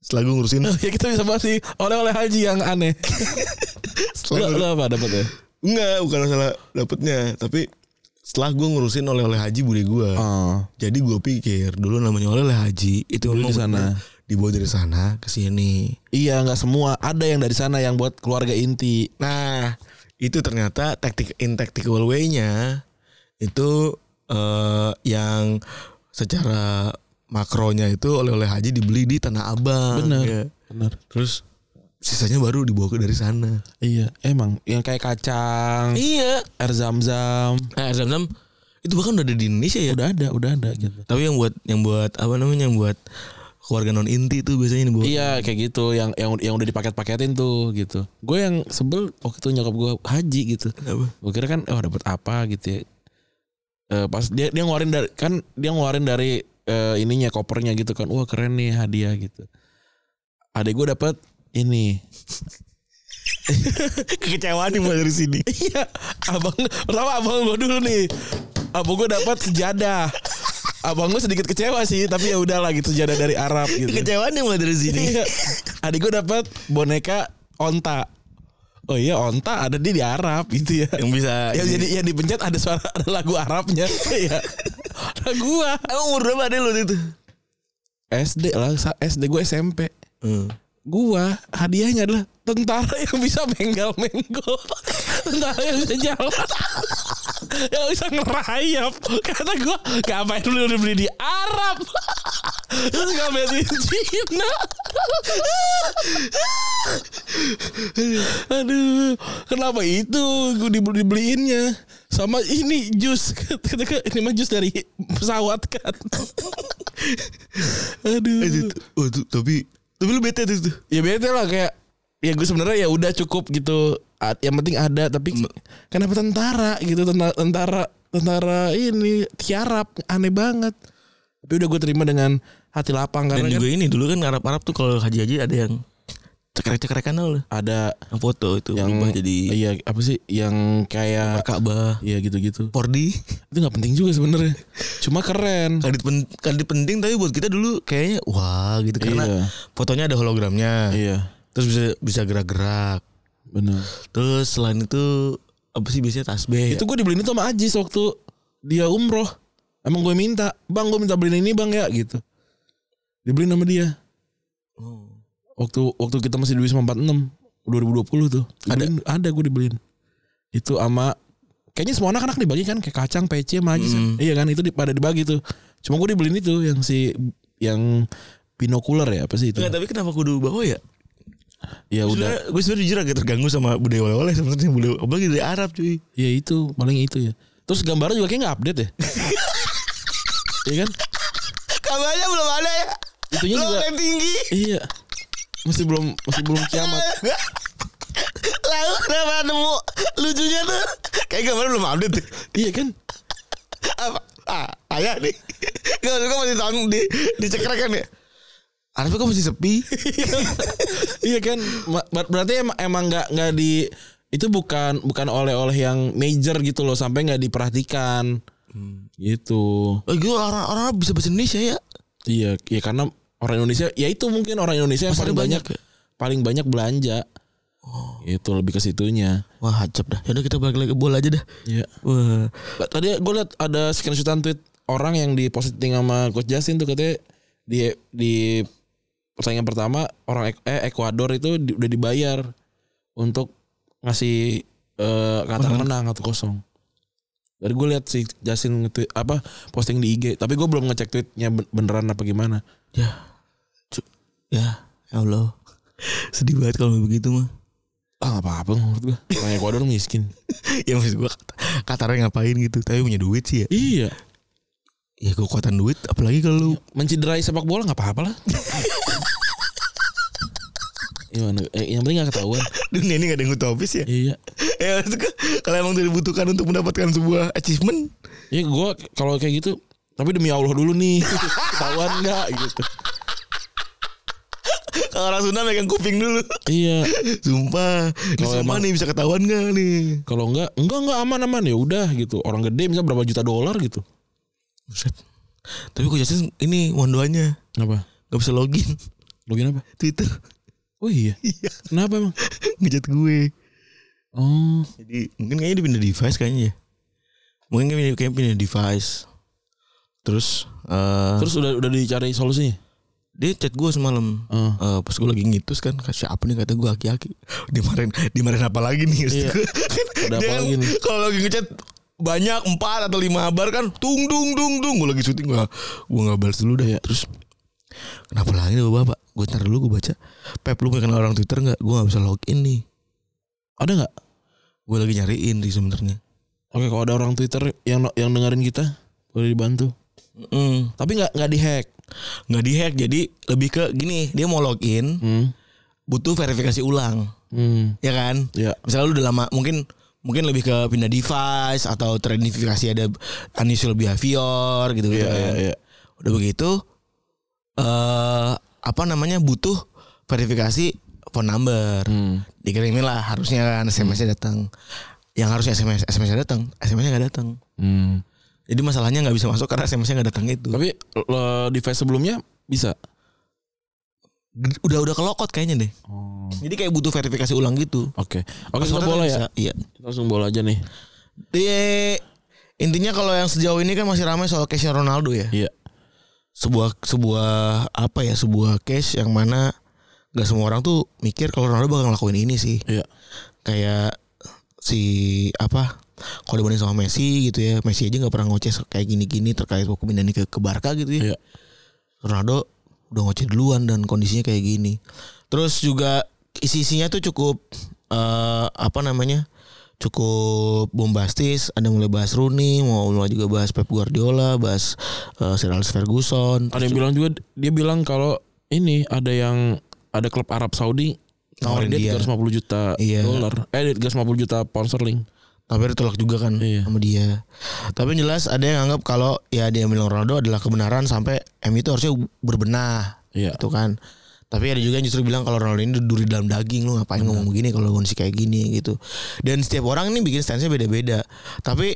Speaker 2: Setelah gua ngurusin
Speaker 3: ya kita bisa bahas nih oleh-oleh haji yang aneh.
Speaker 2: setelah
Speaker 3: lo,
Speaker 2: gua-
Speaker 3: lo apa dapat ya?
Speaker 2: enggak, bukan masalah dapetnya, tapi setelah gua ngurusin oleh-oleh haji bude gua.
Speaker 3: Oh,
Speaker 2: Jadi gue pikir dulu namanya oleh haji itu
Speaker 3: Dulu
Speaker 2: memang
Speaker 3: di sana.
Speaker 2: bener. dibawa dari sana ke sini.
Speaker 3: iya nggak semua ada yang dari sana yang buat keluarga inti.
Speaker 2: Nah itu ternyata taktik in tactical way-nya itu eh, yang secara makronya itu oleh-oleh haji dibeli di tanah abang.
Speaker 3: Bener.
Speaker 2: ya.
Speaker 3: Benar.
Speaker 2: Terus sisanya baru dibawa ke dari sana.
Speaker 3: Iya, emang yang kayak kacang,
Speaker 2: Iya.
Speaker 3: air zam-zam,
Speaker 2: Nah, air zam-zam itu bahkan udah ada di Indonesia ya.
Speaker 3: udah ada, udah ada gitu.
Speaker 2: Tapi yang buat yang buat apa namanya yang buat keluarga non inti itu biasanya dibawa.
Speaker 3: Iya kayak gitu yang yang yang udah dipaket-paketin tuh gitu. Gue yang sebel waktu itu nyokap gue haji gitu.
Speaker 2: Apa?
Speaker 3: Gue kira kan oh dapat apa gitu ya. Eh, pas dia dia ngeluarin dari kan dia ngeluarin dari eh, ininya kopernya gitu kan. Wah keren nih hadiah gitu. Adik gue dapat ini.
Speaker 2: Kekecewaan dibawa dari sini.
Speaker 3: Iya, abang pertama abang gue dulu nih. Abang gue dapat sejadah. Abang gue sedikit kecewa sih, tapi ya udahlah gitu sejadah dari Arab gitu.
Speaker 2: Kecewaan yang mulai dari sini.
Speaker 3: Iya. Adik gue dapat boneka onta. Oh iya onta ada di di Arab gitu ya.
Speaker 2: yang bisa.
Speaker 3: Yang jadi yang dipencet ada suara ada lagu Arabnya. Iya. Nah gua
Speaker 2: emang umur berapa ada lu waktu itu?
Speaker 3: SD lah, sa- SD gue SMP.
Speaker 2: Hmm.
Speaker 3: Gua hadiahnya adalah tentara yang bisa menggal-menggol. tentara yang bisa jalan. yang bisa ngerayap. Kata gua, ngapain lu udah beli di Arab? Terus ngapain di Cina? Aduh, kenapa itu gue dibeli dibeliinnya? Sama ini jus, kata gua, ini mah jus dari pesawat kan.
Speaker 2: Eh,
Speaker 3: Aduh.
Speaker 2: itu- oh, itu- tapi tapi lu bete tuh. tuh.
Speaker 3: ya bete lah kayak ya gue sebenarnya ya udah cukup gitu A- yang penting ada tapi
Speaker 2: Mm.
Speaker 3: kenapa tentara gitu tentara tentara tentara ini tiarap aneh banget tapi udah gue terima dengan hati lapang
Speaker 2: Dan
Speaker 3: karena kan
Speaker 2: juga ini dulu kan Arab-Arab tuh kalau haji-haji ada yang cekrek-cekrekan tau lu.
Speaker 3: ada
Speaker 2: Yang foto itu
Speaker 3: yang
Speaker 2: berubah jadi
Speaker 3: iya apa sih yang kayak
Speaker 2: Ka'bah.
Speaker 3: Iya gitu-gitu
Speaker 2: Pordi
Speaker 3: itu nggak penting juga sebenarnya cuma keren
Speaker 2: kadit, pen- kadit penting tapi buat kita dulu kayaknya wah gitu karena
Speaker 3: Iya.
Speaker 2: fotonya ada hologramnya
Speaker 3: iya
Speaker 2: terus bisa bisa gerak-gerak
Speaker 3: benar
Speaker 2: terus selain itu apa sih biasanya tasbih ya?
Speaker 3: itu gue dibeliin itu sama Ajis waktu dia umroh emang gue minta bang gue minta beliin ini bang ya gitu dibeliin sama dia
Speaker 2: Oh.
Speaker 3: waktu waktu kita masih di Wisma 46 2020 tuh ada ada gue dibeliin itu sama kayaknya semua anak-anak dibagi kan kayak kacang, pece, sama Ajis. Iya kan itu di- pada dibagi tuh. Cuma gue dibeliin itu yang si yang binokuler ya apa sih itu?
Speaker 2: Nggak, tapi kenapa kudu bawa ya?
Speaker 3: Ya udah.
Speaker 2: Udah. Gue sebenarnya jujur agak terganggu sama budaya oleh-oleh sebenarnya budaya apalagi dari Arab cuy.
Speaker 3: Ya itu paling itu ya. Terus gambarnya juga kayak nggak update ya. Iya kan?
Speaker 2: Kabarnya belum ada ya.
Speaker 3: Itunya
Speaker 2: Belum
Speaker 3: juga-
Speaker 2: ada yang tinggi.
Speaker 3: Iya. Masih belum masih belum kiamat.
Speaker 2: Lalu kenapa nemu lucunya tuh kayak gambar belum update tuh.
Speaker 3: Iya kan?
Speaker 2: apa ah ayah nih gak maksud gue masih tahun di dicekrek kan ya Arabnya kok masih sepi
Speaker 3: iya kan? Ma- ber- Berarti em- emang nggak nggak di itu bukan bukan oleh-oleh yang major gitu loh sampai nggak diperhatikan. Gitu.
Speaker 2: oh, gitu orang orang Arab bisa bahasa Indonesia ya
Speaker 3: Iya, ya karena orang Indonesia, ya itu mungkin orang Indonesia yang
Speaker 2: Pasarnya
Speaker 3: paling banyak, Oh.
Speaker 2: banyak ya.
Speaker 3: paling banyak belanja. Itu lebih ke situnya.
Speaker 2: wah hacep dah yaudah kita balik lagi ke bola aja dah
Speaker 3: Iya.
Speaker 2: wah
Speaker 3: Tadi gue liat ada screenshotan tweet orang yang di posting sama Coach Justin tuh katanya di di pertandingan pertama orang Ek- eh Ekuador itu di- udah dibayar untuk ngasih eh, kata menang atau kosong. Dari gue liat si Justin nge-tweet apa posting di IG, tapi gue belum ngecek tweetnya ben- beneran apa gimana.
Speaker 2: ya Cu- ya ya Allah sedih banget kalau begitu mah
Speaker 3: Ah nggak apa-apa menurut gue. Orang Ekuador miskin.
Speaker 2: ya maksud gue kata- Katarnya ngapain gitu tapi punya duit sih ya
Speaker 3: Iya.
Speaker 2: ya kekuatan duit apalagi kalau lu
Speaker 3: Menciderai sepak bola nggak apa-apa lah. Gimana? Eh, yang penting nggak ketahuan.
Speaker 2: dunia ini gak ada yang utopis ya
Speaker 3: Iya.
Speaker 2: ya maksud gue kalau emang dibutuhkan untuk mendapatkan sebuah achievement
Speaker 3: Ya gue kalau kayak gitu. Tapi demi Allah dulu nih. ketahuan nggak gitu.
Speaker 2: kalau orang Sunda megang kuping dulu
Speaker 3: Iya.
Speaker 2: Sumpah Ini
Speaker 3: Kalau
Speaker 2: sama
Speaker 3: emang-
Speaker 2: nih bisa ketahuan gak nih
Speaker 3: Kalau enggak, enggak enggak aman-aman ya udah gitu. Orang gede misalnya berapa juta dolar gitu.
Speaker 2: Buset. Tapi kok Justin ini mondoannya
Speaker 3: Apa?
Speaker 2: Gak bisa login
Speaker 3: Login apa?
Speaker 2: Twitter
Speaker 3: Oh iya.
Speaker 2: Iya
Speaker 3: Kenapa emang?
Speaker 2: Ngejat gue
Speaker 3: Oh.
Speaker 2: Jadi mungkin kayaknya dia pindah device kayaknya ya Mungkin kayaknya pindah, kayaknya pindah device Terus eh Terus
Speaker 3: Terus udah udah dicari solusinya.
Speaker 2: dia chat gue semalam
Speaker 3: Eh.
Speaker 2: Eh, pas gue lagi ngitus kan kasih apa nih kata gue aki-aki dimarin dimarin apa lagi nih
Speaker 3: Iya. Ada apa
Speaker 2: Dia kan
Speaker 3: lagi nih?
Speaker 2: kalau lagi ngechat banyak empat atau lima abar kan tung dung dung dung gue lagi syuting gue gue nggak balas dulu dah ya terus kenapa lagi nih bapak gue ntar dulu gue baca pep lu kenal orang twitter nggak gue nggak bisa login nih
Speaker 3: Ada nggak?
Speaker 2: gue lagi nyariin sih sebenarnya
Speaker 3: Oke, kalau ada orang Twitter yang yang dengerin kita boleh dibantu.
Speaker 2: Mm.
Speaker 3: Tapi nggak nggak dihack.
Speaker 2: nggak dihack jadi lebih ke gini dia mau login
Speaker 3: Hmm.
Speaker 2: butuh verifikasi ulang
Speaker 3: Hmm.
Speaker 2: ya kan
Speaker 3: Ya.
Speaker 2: misalnya lu udah lama mungkin mungkin lebih ke pindah device atau teridentifikasi ada unusual behavior gitu gitu
Speaker 3: Iya,
Speaker 2: kan.
Speaker 3: iya, iya.
Speaker 2: Udah begitu eh apa namanya butuh verifikasi phone number.
Speaker 3: Hmm.
Speaker 2: Dikirimin lah harusnya kan SMS-nya datang. Yang harusnya SMS SMS-nya datang, SMS-nya nggak datang.
Speaker 3: Hmm.
Speaker 2: Jadi masalahnya nggak bisa masuk karena SMS-nya nggak datang itu.
Speaker 3: Tapi lo, device sebelumnya bisa.
Speaker 2: G- Udah udah kelokot kayaknya deh.
Speaker 3: Oh.
Speaker 2: Jadi kayak butuh verifikasi ulang gitu.
Speaker 3: Oke. Oke, kita
Speaker 2: Passwordnya
Speaker 3: bola
Speaker 2: nggak
Speaker 3: ya.
Speaker 2: bisa. Iya.
Speaker 3: Kita langsung bola aja nih.
Speaker 2: Di- Iya, intinya kalau yang sejauh ini kan masih ramai soal case Ronaldo ya.
Speaker 3: Iya.
Speaker 2: sebuah sebuah apa ya sebuah case yang mana nggak semua orang tuh mikir kalau Ronaldo bakal ngelakuin ini sih
Speaker 3: Iya.
Speaker 2: kayak si apa kalau dibanding sama Messi gitu ya Messi aja nggak pernah ngoceh kayak gini-gini terkait hukum ini ke, ke Barca gitu ya
Speaker 3: Iya.
Speaker 2: Ronaldo udah ngoceh duluan dan kondisinya kayak gini terus juga isi-isinya tuh cukup eh, apa namanya cukup bombastis ada mulai bahas Rooney mau mulai juga bahas Pep Guardiola bahas eh, Sir Alex Ferguson
Speaker 3: Ada yang bilang juga dia bilang kalau ini ada yang ada klub Arab Saudi
Speaker 2: Nawarin
Speaker 3: nawarin dia
Speaker 2: dia.
Speaker 3: 350 juta
Speaker 2: Iya.
Speaker 3: dolar. Eh 350 juta pound sterling.
Speaker 2: tapi ditolak juga kan
Speaker 3: Iya.
Speaker 2: sama dia. Tapi yang jelas ada yang anggap kalau ya dia bilang Ronaldo adalah kebenaran sampai MU itu harusnya berbenah
Speaker 3: Iya.
Speaker 2: gitu kan. Tapi ada juga yang justru bilang kalau Ronaldo ini duri dalam daging lu ngapain ngomong begini kalau kondisi kayak gini gitu. Dan setiap orang ini bikin stance-nya beda-beda. Tapi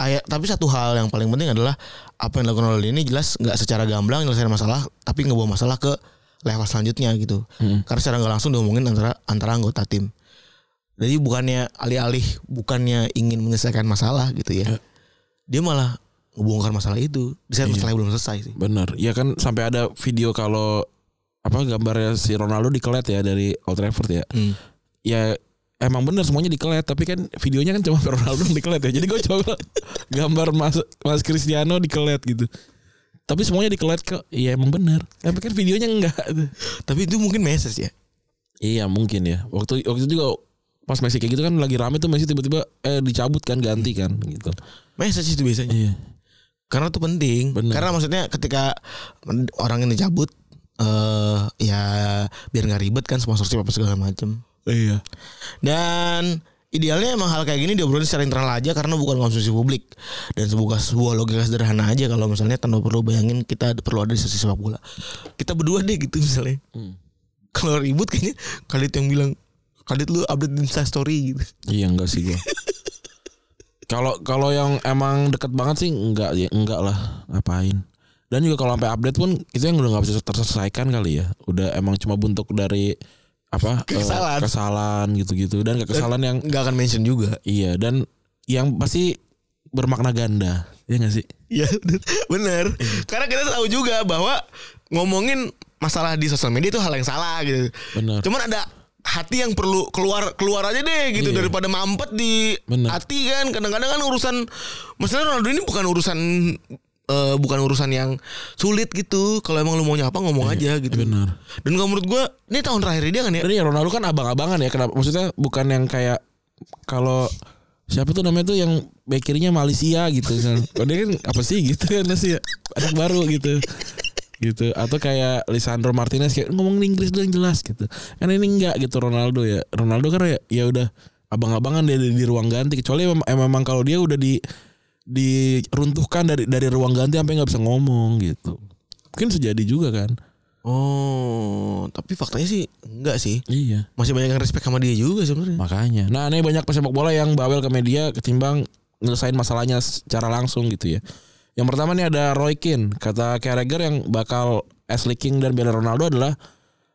Speaker 2: ayat tapi satu hal yang paling penting adalah apa yang dilakukan Ronaldo ini jelas nggak secara gamblang nyelesain masalah tapi ngebawa masalah ke level selanjutnya gitu. Karena secara nggak langsung diomongin antara antara anggota tim. Jadi bukannya alih-alih bukannya ingin menyelesaikan masalah gitu ya. Iya.
Speaker 3: Ya.
Speaker 2: Dia malah ngebongkar masalah itu. Di saat masalahnya belum selesai sih.
Speaker 3: Bener. Ya kan sampai ada video kalau apa gambarnya si Ronaldo dikelet ya dari Old Trafford ya.
Speaker 2: Hmm.
Speaker 3: Ya emang bener semuanya dikelet tapi kan videonya kan cuma Ronaldo yang dikelet ya jadi gue coba gambar mas mas Cristiano dikelet gitu tapi semuanya dikelet ke iya emang bener tapi kan videonya enggak
Speaker 2: Tapi itu mungkin message ya.
Speaker 3: iya mungkin ya waktu waktu itu juga pas Messi kayak gitu kan lagi rame tuh Messi tiba-tiba eh dicabut kan ganti kan gitu
Speaker 2: Message itu biasanya.
Speaker 3: iya
Speaker 2: Karena itu penting.
Speaker 3: Bener.
Speaker 2: Karena maksudnya ketika orang ini cabut eh ya biar nggak ribet kan sponsorship apa segala macem
Speaker 3: iya
Speaker 2: Dan idealnya emang hal kayak gini diobrolin secara internal aja karena bukan konsumsi publik dan sebuah sebuah logika sederhana aja kalau misalnya tanpa perlu bayangin kita perlu ada di sisi sepak bola kita berdua deh gitu misalnya
Speaker 3: Hmm.
Speaker 2: kalau ribut kayaknya Khalid yang bilang Khalid lu update Insta story gitu
Speaker 3: Iya enggak sih gua. Kalau kalau yang emang deket banget sih enggak ya enggak lah ngapain. Dan juga kalau sampai update pun kita yang udah nggak bisa terselesaikan kali ya. Udah emang cuma bentuk dari apa eh,
Speaker 2: Kesalahan.
Speaker 3: kesalahan gitu-gitu dan kekesalan yang
Speaker 2: nggak akan mention juga
Speaker 3: iya dan yang pasti bermakna ganda. Iya enggak sih?
Speaker 2: ya bener karena kita tahu juga bahwa ngomongin masalah di sosial media itu hal yang salah gitu
Speaker 3: Benar.
Speaker 2: cuman ada hati yang perlu keluar keluar aja deh gitu
Speaker 3: Iya.
Speaker 2: daripada mampet di
Speaker 3: Bener.
Speaker 2: hati kan kadang-kadang kan urusan masalah Ronaldo ini bukan urusan eh, bukan urusan yang sulit gitu kalau emang lu mau nyapa ngomong aja
Speaker 3: Iya,
Speaker 2: gitu
Speaker 3: benar.
Speaker 2: dan kalau menurut gua ini tahun terakhir dia kan ya
Speaker 3: Dan ya Ronaldo kan abang-abangan ya. Kenapa? Maksudnya bukan yang kayak kalau siapa tuh namanya tuh yang back kirinya Malaysia gitu. Kalau dia kan apa sih gitu kan sih ya. anak baru gitu. gitu atau kayak Lisandro Martinez kayak ngomong Inggris dulu yang jelas gitu. Kan ini enggak gitu Ronaldo ya. Ronaldo kan ya, ya udah abang-abangan dia di, di ruang ganti kecuali mem- em- memang kalau dia udah di diruntuhkan dari dari ruang ganti sampai nggak bisa ngomong gitu. Mungkin sejadi juga kan.
Speaker 2: oh tapi faktanya sih enggak sih
Speaker 3: Iya.
Speaker 2: masih banyak yang respect sama dia juga sebenarnya
Speaker 3: Makanya. Nah, ini banyak pesepak bola yang bawel ke media ketimbang nyelesain masalahnya secara langsung gitu ya. Yang pertama nih ada Roy Keane, kata Carragher yang bakal Ashley King dan Bella Ronaldo adalah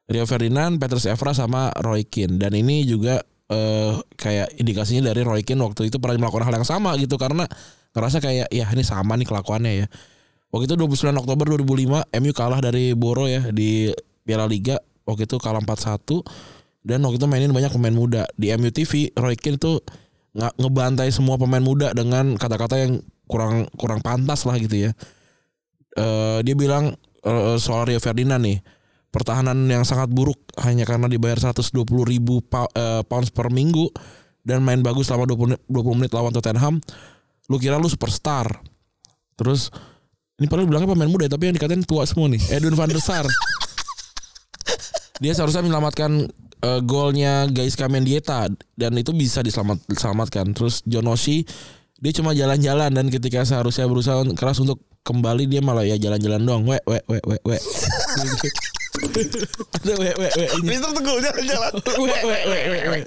Speaker 3: Rio Ferdinand, Petrus Evra sama Roy Keane. Dan ini juga eh, kayak indikasinya dari Roy Keane waktu itu pernah melakukan hal yang sama gitu karena ngerasa kayak ya ini sama nih kelakuannya ya. Waktu itu 29 Oktober 2005 MU kalah dari Boro ya di Piala Liga. Waktu itu kalah 4-1 dan waktu itu mainin banyak pemain muda di MU TV. Roy Keane tuh nge- ngebantai semua pemain muda dengan kata-kata yang kurang kurang pantas lah gitu ya. Eh, dia bilang eh, soal Rio Ferdinand nih pertahanan yang sangat buruk hanya karena dibayar 120 ribu eh, pounds per minggu dan main bagus selama 20, 20 menit lawan Tottenham lu kira lu superstar terus ini padahal bilangnya pemain muda ya, tapi yang dikatain tua semua nih Edwin van der Sar dia seharusnya menyelamatkan eh, golnya guys Kamendieta dan itu bisa diselamat diselamatkan terus Jonoshi dia cuma jalan-jalan dan ketika seharusnya berusaha keras untuk kembali dia malah ya jalan-jalan doang we we we we we ada we we we ini
Speaker 2: Mister Teguh jalan-jalan
Speaker 3: we we we we we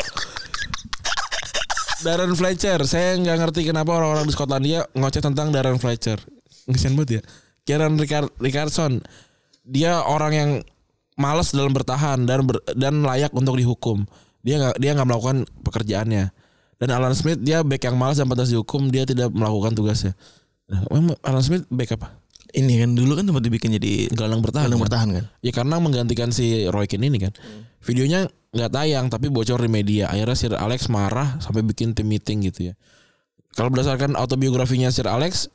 Speaker 3: Darren Fletcher, saya nggak ngerti kenapa orang-orang di Skotlandia ngoceh tentang Darren Fletcher. Ngesian banget ya. Kieran Ricard- Richardson, dia orang yang malas dalam bertahan dan ber- dan layak untuk dihukum. Dia nggak dia nggak melakukan pekerjaannya. Dan Alan Smith dia back yang malas dan pantas dihukum. Dia tidak melakukan tugasnya. Nah, emang Alan Smith back apa?
Speaker 2: ini kan dulu kan tempat dibikin jadi
Speaker 3: Gelandang bertahan.
Speaker 2: gelandang
Speaker 3: kan?
Speaker 2: bertahan kan
Speaker 3: Ya karena menggantikan si Roy Keane ini kan. Videonya nggak tayang tapi bocor di media. Akhirnya Sir Alex marah sampai bikin tim meeting gitu ya. Kalau berdasarkan autobiografinya Sir Alex,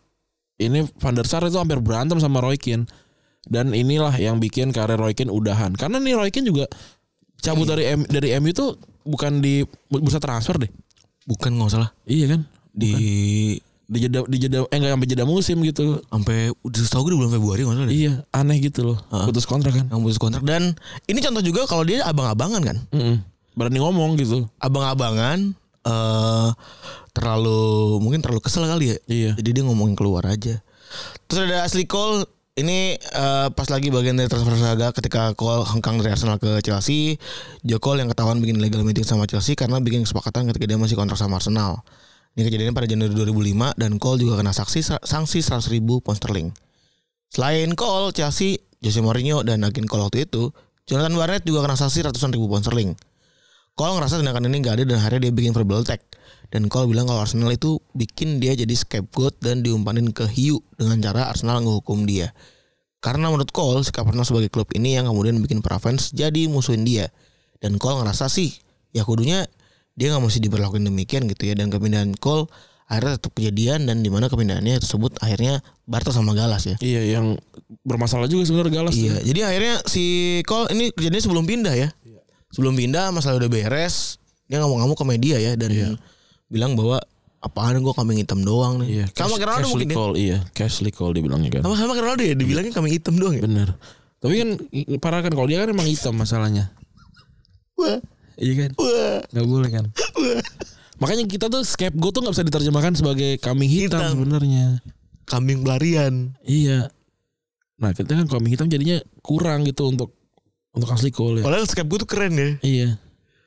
Speaker 3: ini Van der Sar itu hampir berantem sama Roy Keane. Dan inilah yang bikin karir Roy Keane udahan. Karena nih Roy Keane juga cabut dari M, dari MU tuh bukan di bursa transfer deh.
Speaker 2: bukan nggak salah
Speaker 3: Iya kan?
Speaker 2: di
Speaker 3: Di jeda di jeda eh nggak sampai jeda musim gitu.
Speaker 2: sampai udah setahu gue di bulan Februari nggak salah deh.
Speaker 3: Iya, aneh gitu loh. Putus kontrak kan.
Speaker 2: yang putus kontrak dan ini contoh juga kalau dia abang-abangan kan
Speaker 3: Mm-mm. Berani ngomong gitu.
Speaker 2: abang-abangan eh terlalu mungkin terlalu kesel kali ya
Speaker 3: Iya.
Speaker 2: jadi dia ngomongin keluar aja terus ada asli call ini eh, pas lagi bagian dari transfer saga ketika call hengkang dari Arsenal ke Chelsea Jokol yang ketahuan bikin legal meeting sama Chelsea karena bikin kesepakatan ketika dia masih kontrak sama Arsenal ini kejadiannya pada Januari 2005 dan Cole juga kena sanksi sanksi 100 ribu pound sterling Selain Cole, Chelsea, Jose Mourinho dan agen Cole waktu itu, Jonathan Barnett juga kena sanksi ratusan ribu pound sterling. Cole ngerasa tindakan ini nggak ada dan akhirnya dia bikin verbal attack. Dan Cole bilang kalau Arsenal itu bikin dia jadi scapegoat dan diumpanin ke hiu dengan cara Arsenal ngehukum dia. Karena menurut Cole, sikap Arsenal sebagai klub ini yang kemudian bikin para fans jadi musuhin dia. Dan Cole ngerasa sih, ya kudunya dia nggak mesti diperlakukan demikian gitu ya dan kepindahan Cole akhirnya tetap kejadian dan di mana kepindahannya tersebut akhirnya Bartos sama Galas ya.
Speaker 3: Iya yang bermasalah juga sebenarnya Galas.
Speaker 2: Iya, jadi akhirnya si Cole ini kejadiannya sebelum pindah ya. Sebelum pindah masalah udah beres, dia ngamuk-ngamuk ke media ya dan bilang bahwa apaan gue kambing hitam doang nih.
Speaker 3: Iya.
Speaker 2: Sama
Speaker 3: cash-
Speaker 2: Ronaldo
Speaker 3: cashly
Speaker 2: mungkin ya.
Speaker 3: call, iya. Cashly call dibilangnya kan.
Speaker 2: Sama sama Ronaldo ya dibilangnya kambing hitam doang ya.
Speaker 3: Bener. Tapi kan i- parah kan kalau dia kan emang hitam masalahnya.
Speaker 2: Wah,
Speaker 3: Iya kan?
Speaker 2: wah.
Speaker 3: Gak boleh kan? Makanya kita tuh scapegoat tuh gak bisa diterjemahkan sebagai kambing hitam,
Speaker 2: Hitam.
Speaker 3: sebenarnya.
Speaker 2: Kambing pelarian.
Speaker 3: Iya. Nah kita kan kambing hitam jadinya kurang gitu untuk untuk asli call ya.
Speaker 2: Padahal skep gue tuh keren ya.
Speaker 3: Iya.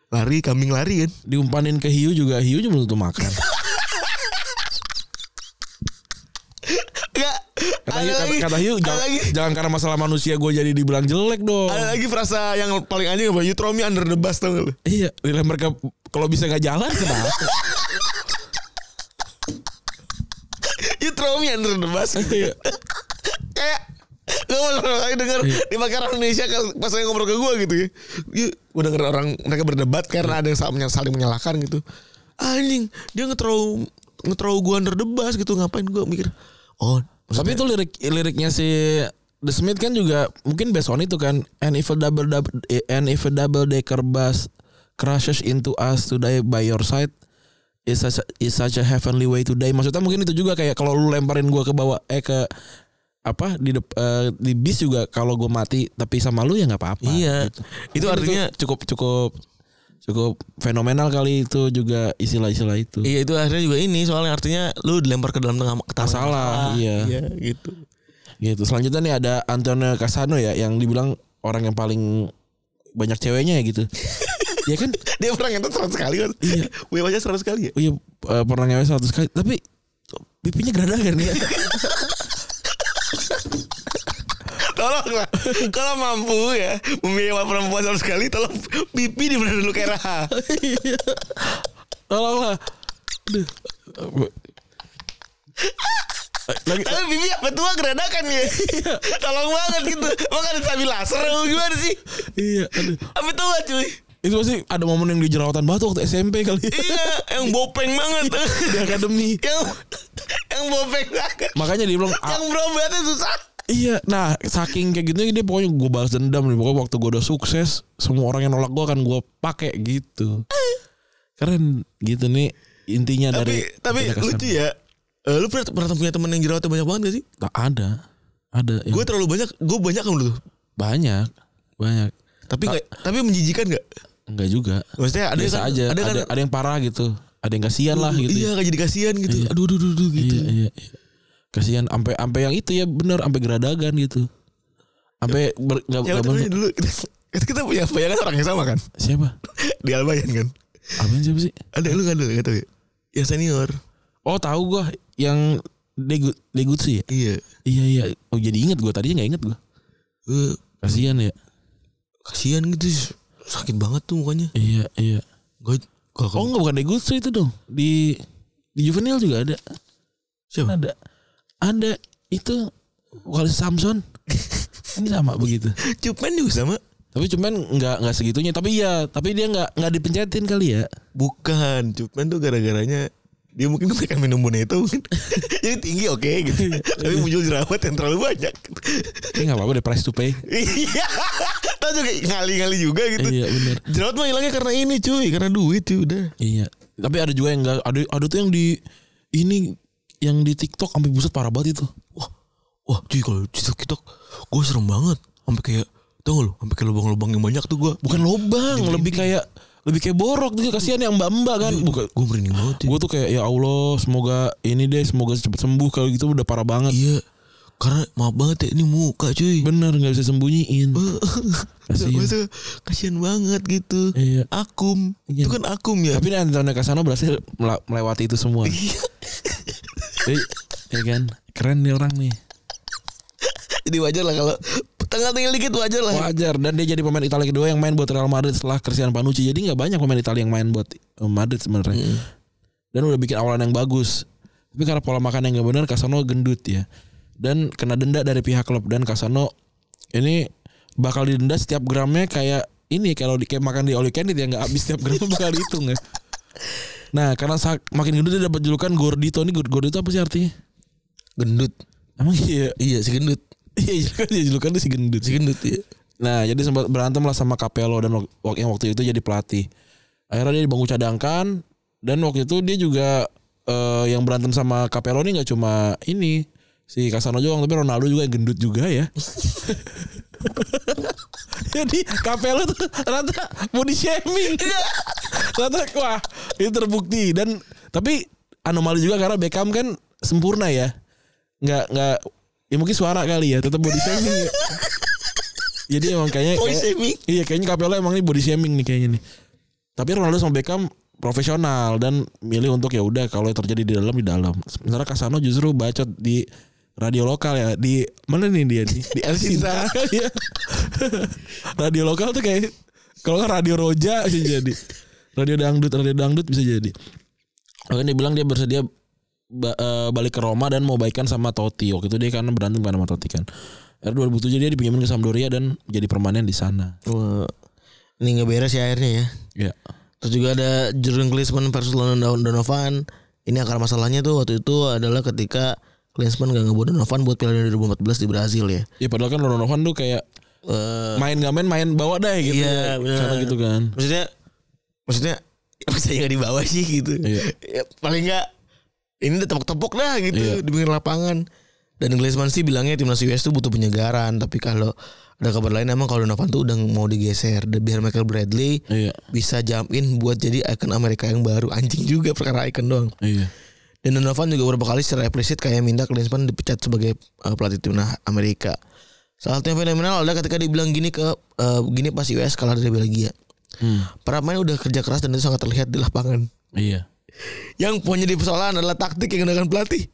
Speaker 2: Lari kambing lari kan.
Speaker 3: Diumpanin ke hiu juga hiu juga belum tentu makan.
Speaker 2: Enggak.
Speaker 3: Kata
Speaker 2: Ada
Speaker 3: hiu, kata,
Speaker 2: lagi.
Speaker 3: kata hiu
Speaker 2: Ada
Speaker 3: jangan,
Speaker 2: lagi.
Speaker 3: jangan karena masalah manusia gue jadi dibilang jelek dong.
Speaker 2: Ada lagi frasa yang paling anjing apa? You throw me under the bus tau gak lu?
Speaker 3: Iya, dilempar ke kalau bisa gak jalan kenapa?
Speaker 2: You throw me under the bus.
Speaker 3: Iya.
Speaker 2: Kayak Gue malah lagi denger di makanan Indonesia kan pas saya ngobrol ke gue gitu ya. You, gue denger orang mereka berdebat karena ada yang saling, menyal- saling menyalahkan gitu. Anjing, dia nge-throw nge-throw gue under the bus gitu. Ngapain gue mikir. Oh,
Speaker 3: Tapi itu lirik liriknya si The Smith kan juga mungkin based on itu kan and if a double double and if a double decker bus crashes into us today by your side is such a, is such a heavenly way to die. Maksudnya mungkin itu juga kayak kalau lu lemparin gua ke bawah eh ke apa di dep- eh, di bis juga kalau gua mati tapi sama lu ya nggak apa-apa.
Speaker 2: Iya.
Speaker 3: Gitu.
Speaker 2: Itu
Speaker 3: Mungkin
Speaker 2: artinya
Speaker 3: cukup cukup cukup fenomenal kali itu juga istilah-istilah itu.
Speaker 2: Iya itu akhirnya juga ini soalnya artinya lu dilempar ke dalam tengah ke tanah
Speaker 3: Masalah,
Speaker 2: masalah.
Speaker 3: iya.
Speaker 2: gitu.
Speaker 3: Gitu. Selanjutnya nih ada Antonio Casano ya yang dibilang orang yang paling banyak ceweknya ya gitu. ya kan?
Speaker 2: Dia pernah ngentot 100 kali kan. Iya. Web aja 100 kali ya.
Speaker 3: Oh iya eh, pernah ngewe 100 kali tapi pipinya geradagan ya.
Speaker 2: Tolonglah. Kalau mampu ya memilih perempuan 100 kali tolong pipi di benar dulu kayak Raha.
Speaker 3: Tolonglah. Aduh. Lagi
Speaker 2: Tapi pipi apa tua geradakan ya.
Speaker 3: Iya.
Speaker 2: Tolong banget gitu. Emang ada sabi laser apa gimana sih?
Speaker 3: iya, aduh.
Speaker 2: Apa tua cuy?
Speaker 3: Itu pasti ada momen yang di jerawatan batu waktu SMP kali.
Speaker 2: Iya, yang bopeng banget.
Speaker 3: di akademi.
Speaker 2: yang yang bopeng banget.
Speaker 3: Makanya dia bilang "Ah,
Speaker 2: Yang berobatnya susah.
Speaker 3: Iya, nah saking kayak gitu dia pokoknya gue balas dendam nih. Pokoknya waktu gue udah sukses, semua orang yang nolak gue akan gue pakai gitu. Keren gitu nih intinya dari
Speaker 2: Tapi tapi
Speaker 3: pendekatan.
Speaker 2: lucu ya. Eh, lu pernah, pernah punya temen yang jerawatnya banyak banget gak sih?
Speaker 3: Tak ada, ada yang
Speaker 2: Gue terlalu banyak, gue banyak kan dulu.
Speaker 3: banyak, banyak.
Speaker 2: Tapi nggak- tapi menjijikan gak?
Speaker 3: Enggak juga.
Speaker 2: Maksudnya ada
Speaker 3: Ah. Biasa
Speaker 2: kan,
Speaker 3: aja. Ada,
Speaker 2: ada kan,
Speaker 3: ada, yang parah gitu, ada yang kasihan lah gitu.
Speaker 2: iya
Speaker 3: ya.
Speaker 2: gak jadi kasihan gitu.
Speaker 3: Iya.
Speaker 2: Aduh, aduh, aduh, aduh, gitu.
Speaker 3: iya, iya, iya. Kasihan sampai sampai yang itu ya bener sampai geradagan gitu. Sampai ber- nggak-
Speaker 2: Ya
Speaker 3: nggak
Speaker 2: udah,
Speaker 3: bentuk.
Speaker 2: dulu kita, kita punya bayangan orang yang sama kan
Speaker 3: siapa?
Speaker 2: di Albayan kan.
Speaker 3: Apaan siapa sih?
Speaker 2: Ada lu kan dulu tahu ya. Ya senior.
Speaker 3: Oh tahu gua yang degut degut sih ya.
Speaker 2: Iya.
Speaker 3: Iya iya. Oh jadi inget gua tadinya nggak inget gua
Speaker 2: Eh,
Speaker 3: Kasihan ya.
Speaker 2: kasihan gitu sakit banget tuh mukanya.
Speaker 3: Iya iya.
Speaker 2: Gue
Speaker 3: Oh
Speaker 2: kalau
Speaker 3: nggak bukan degut sih itu dong. Di di juvenil juga ada.
Speaker 2: siapa?
Speaker 3: Ada ada itu kalau Samson ini sama begitu.
Speaker 2: Cuman juga sama.
Speaker 3: Tapi cuman nggak nggak segitunya. Tapi iya. Tapi dia nggak nggak dipencetin kali ya.
Speaker 2: Bukan, Cuman tuh gara-garanya dia mungkin mereka minum boneta mungkin. Jadi tinggi oke gitu. Tapi muncul jerawat yang terlalu banyak.
Speaker 3: Ini nggak apa-apa deh price to pay.
Speaker 2: Iya. Tahu juga ngali-ngali juga gitu.
Speaker 3: iya benar.
Speaker 2: Jerawat mah hilangnya karena ini cuy, karena duit cuy udah.
Speaker 3: Iya. Tapi ada juga yang nggak ada ada tuh yang di ini yang di TikTok sampai buset parah banget itu.
Speaker 2: Wah, wah cuy kalau di TikTok gue serem banget. Sampai kayak tau gak lu, sampai kayak lubang-lubang yang banyak tuh gue.
Speaker 3: bukan lobang lebih kayak lebih kayak borok tuh kasihan yang mbak-mbak kan bukan
Speaker 2: Gue merinding banget. cuy.
Speaker 3: gue tuh kayak ya Allah semoga ini deh semoga cepet sembuh kalau gitu udah parah banget
Speaker 2: Iya, karena maaf banget ya ini muka cuy.
Speaker 3: bener nggak bisa sembunyiin Kasihan.
Speaker 2: Gua tuh Kasihan banget gitu.
Speaker 3: Iya.
Speaker 2: Akum, itu
Speaker 3: Iya.
Speaker 2: kan akum ya.
Speaker 3: tapi Antonio Casano berhasil mela- melewati itu semua Jadi, ya kan keren nih orang nih
Speaker 2: Jadi wajar lah kalau tengah-tengah dikit wajar lah.
Speaker 3: wajar dan dia jadi pemain Italia kedua yang main buat Real Madrid setelah Cristiano Panucci jadi nggak banyak pemain Italia yang main buat eh, Madrid sebenarnya dan udah bikin awalan yang bagus tapi karena pola makan yang nggak benar Casano gendut ya dan kena denda dari pihak klub dan Casano ini bakal didenda setiap gramnya kayak ini kalau di kayak makan di Oli Candy ya nggak habis setiap gramnya bakal dihitung ya Nah, karena sak- makin gendut dia dapat julukan Gordito. Ini Gor- Gordito apa sih artinya?
Speaker 2: Gendut.
Speaker 3: Emang iya.
Speaker 2: Iya si gendut.
Speaker 3: Iya juga dia julukan dia si gendut.
Speaker 2: Si gendut iya.
Speaker 3: Nah, jadi sempat berantem lah sama Capello dan wak- wak- yang waktu itu jadi pelatih. Akhirnya dia dibangun cadangkan dan waktu itu dia juga eh, yang berantem sama Capello ini nggak cuma ini si Casano doang tapi Ronaldo juga yang gendut juga ya. jadi Capello tuh rata body shaming. rata wah ini terbukti dan tapi anomali juga karena Beckham kan sempurna ya. Nggak nggak ya mungkin suara kali ya tetap body shaming ya. Jadi emang kayaknya
Speaker 2: Body
Speaker 3: kayak-
Speaker 2: shaming.
Speaker 3: Iya kayaknya Capello emang ini body shaming nih kayaknya nih. Tapi Ronaldo sama Beckham profesional dan milih untuk ya udah kalau terjadi di dalam di dalam. Sementara Casano justru bacot di radio lokal ya di mana nih dia di di El Sinta. Iya. radio lokal tuh kayak kalau nggak radio Roja bisa jadi. Radio dangdut, radio dangdut bisa jadi. Makanya dia bilang dia bersedia ba- eh, balik ke Roma dan mau baikan sama Totti. Waktu itu dia kan berantem kan sama Totti kan. Akhirnya 2007 dia dipinjemin ke Sampdoria dan jadi permanen di sana.
Speaker 2: Wah. Ini nggak beres ya akhirnya ya.
Speaker 3: Iya.
Speaker 2: Terus juga ada Jurgen Klinsmann versus London Don- Donovan. Ini akar masalahnya tuh waktu itu adalah ketika Klinsmann gak ngebawa Donovan buat Piala Dunia 2014 di Brazil ya.
Speaker 3: Ya padahal kan Donovan tuh kayak
Speaker 2: Eh,
Speaker 3: main gak main main bawa deh gitu.
Speaker 2: Iya, benar.
Speaker 3: Sana gitu kan.
Speaker 2: maksudnya maksudnya bisa nggak dibawa sih gitu.
Speaker 3: Iya.
Speaker 2: Ya, paling nggak ini udah tepok-tepok dah gitu
Speaker 3: Iya.
Speaker 2: di pinggir lapangan. Dan Klinsmann sih bilangnya timnas US tuh butuh penyegaran, tapi kalau ada kabar lain emang kalau Donovan tuh udah mau digeser Dan biar Michael Bradley
Speaker 3: Iya.
Speaker 2: bisa jump in buat jadi ikon Amerika yang baru anjing juga perkara ikon doang.
Speaker 3: Iya.
Speaker 2: Dan Donovan juga beberapa kali secara eksplisit kayak minta Klinsmann dipecat sebagai uh, pelatih timnas Amerika. Salah satu yang fenomenal adalah ketika dibilang gini ke uh, gini pas US kalah dari Belgia.
Speaker 3: Hmm.
Speaker 2: Para pemain udah kerja keras dan itu sangat terlihat di lapangan.
Speaker 3: Iya.
Speaker 2: Yang punya di persoalan adalah taktik yang digunakan pelatih.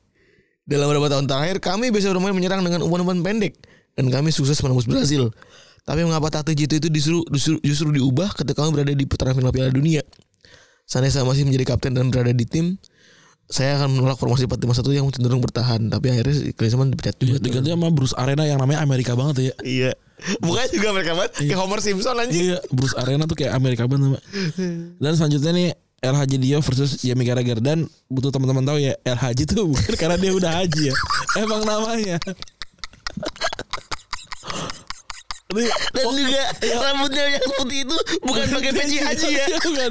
Speaker 2: Dalam beberapa tahun terakhir kami biasa bermain menyerang dengan umpan-umpan pendek dan kami sukses menembus Brazil. Tapi mengapa taktik itu itu disuruh, disuruh- justru diubah ketika kami berada di putaran final Piala Dunia? Seandainya saya masih menjadi kapten dan berada di tim, saya akan menolak formasi 451 yang cenderung bertahan. Tapi akhirnya si Klinsmann dipecat
Speaker 3: Iya,
Speaker 2: juga.
Speaker 3: Diganti sama Bruce Arena yang namanya Amerika banget tuh ya.
Speaker 2: Iya. Bukannya juga mereka banget kayak Homer Simpson anjing.
Speaker 3: Iya, Bruce Arena tuh kayak Amerika banget nama. Dan selanjutnya nih El Haji Dio versus Jamie Carragher dan butuh teman-teman tahu ya El Haji tuh bukan karena dia udah haji ya. Emang namanya. Ini-
Speaker 2: Dan juga rambutnya yang putih itu oh, iya. bukan pakai peci haji ya.
Speaker 3: Iya, bukan.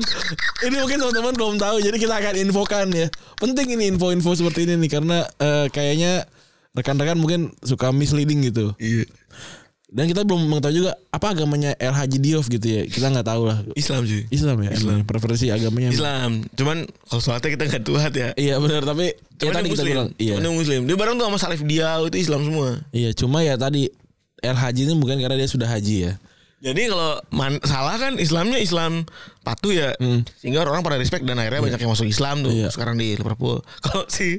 Speaker 3: Ini mungkin teman-teman belum tahu jadi kita akan infokan ya. Penting ini info-info seperti ini nih karena eh, kayaknya rekan-rekan mungkin suka misleading gitu.
Speaker 2: Iya.
Speaker 3: Dan kita belum mengetahui juga apa agamanya El Haji Diof gitu ya. Kita nggak tahu lah.
Speaker 2: Islam cuy.
Speaker 3: Islam ya, Islam. preferensi agamanya.
Speaker 2: Islam. Cuman kalau sholatnya kita nggak tuhat ya.
Speaker 3: Iya benar tapi ya
Speaker 2: Cuman
Speaker 3: tadi
Speaker 2: yang
Speaker 3: kita
Speaker 2: muslim.
Speaker 3: bilang iya.
Speaker 2: Cuman yang muslim. Dia bareng tuh sama Salif Diau itu Islam semua.
Speaker 3: Iya cuma ya tadi El Haji ini bukan karena dia sudah haji ya.
Speaker 2: Jadi kalau man- salah kan Islamnya Islam patuh ya. Sehingga orang pada respect dan akhirnya banyak yang masuk Islam tuh
Speaker 3: Hmm. Iya.
Speaker 2: sekarang di Liverpool. Kalau si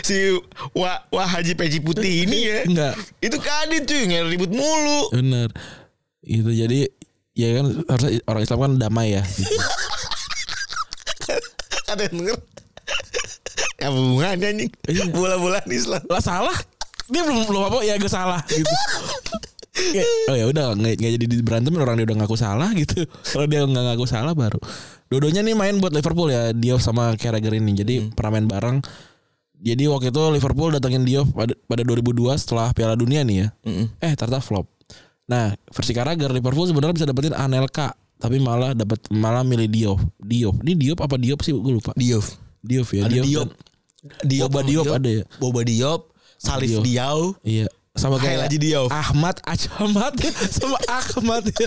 Speaker 2: si Wah Wah Haji Peci Putih ini ya.
Speaker 3: Enggak.
Speaker 2: Itu kadit cuy nggak ribut mulu.
Speaker 3: Benar. Itu Gitu, jadi ya kan harusnya orang Islam kan damai ya. Gitu.
Speaker 2: Ada yang denger. Apa hubungannya anjing? Bola-bola Islam.
Speaker 3: lah salah dia belum belum apa ya gue salah gitu Kayak, oh ya udah nggak nggak jadi berantemin orang dia udah ngaku salah gitu kalau dia nggak ngaku salah baru dodonya nih main buat Liverpool ya Diop sama Carragher ini jadi
Speaker 2: Hmm.
Speaker 3: pernah main bareng jadi waktu itu Liverpool datengin Diop pada, pada 2002 setelah Piala Dunia nih ya
Speaker 2: Hmm.
Speaker 3: eh ternyata flop nah versi Carragher Liverpool sebenarnya bisa dapetin Anelka tapi malah dapat malah milih Diop Diop ini Diop apa Diop sih gue lupa
Speaker 2: Diof.
Speaker 3: Diop ya
Speaker 2: Ada Diop.
Speaker 3: dan- Boba
Speaker 2: sama
Speaker 3: Diop ada ya?
Speaker 2: Boba Diop, Salif
Speaker 3: Diop. Ah,
Speaker 2: Diau.
Speaker 3: Iya. Sama
Speaker 2: Hai,
Speaker 3: kayak
Speaker 2: Haji Diouf.
Speaker 3: Ahmad Ahmad sama Ahmad ya.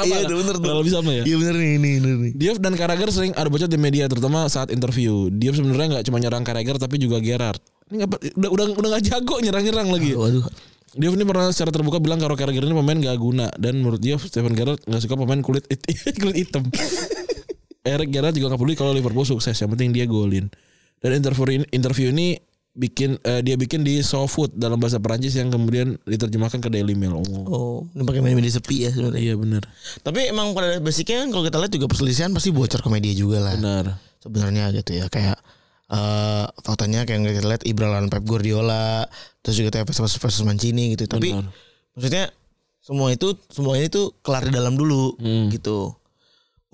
Speaker 3: Apa
Speaker 2: Iya,
Speaker 3: nggak?
Speaker 2: itu bener tuh.
Speaker 3: Kurang lebih sama ya.
Speaker 2: Iya bener nih, ini bener nih.
Speaker 3: Diouf dan Carragher sering ada bocot di media terutama saat interview. Diouf sebenarnya nggak cuma nyerang Carragher tapi juga Gerrard. Ini nggak- udah udah udah nggak jago nyerang-nyerang lagi. ya?
Speaker 2: Waduh.
Speaker 3: Diouf ini pernah secara terbuka bilang kalau Carragher ini pemain gak guna dan menurut Diouf Steven Gerrard nggak suka pemain kulit it- kulit hitam. Eric Gerrard juga nggak peduli kalau Liverpool sukses yang penting dia golin. Dan interview ini, interview ini bikin eh, dia bikin di SoFood dalam bahasa Perancis yang kemudian diterjemahkan ke Daily Mail. Oh.
Speaker 2: Oh, ini pakai media sepi ya sebenarnya.
Speaker 3: Iya benar.
Speaker 2: Tapi emang pada basicnya kan kalau kita lihat juga perselisihan pasti bocor ke media juga lah.
Speaker 3: Benar.
Speaker 2: Sebenarnya gitu ya kayak eh faktanya kayak yang kita lihat Ibra lawan Pep Guardiola, terus juga Tevez versus, versus Mancini gitu. Tapi
Speaker 3: Benar.
Speaker 2: maksudnya semua itu semuanya itu kelar di dalam dulu gitu.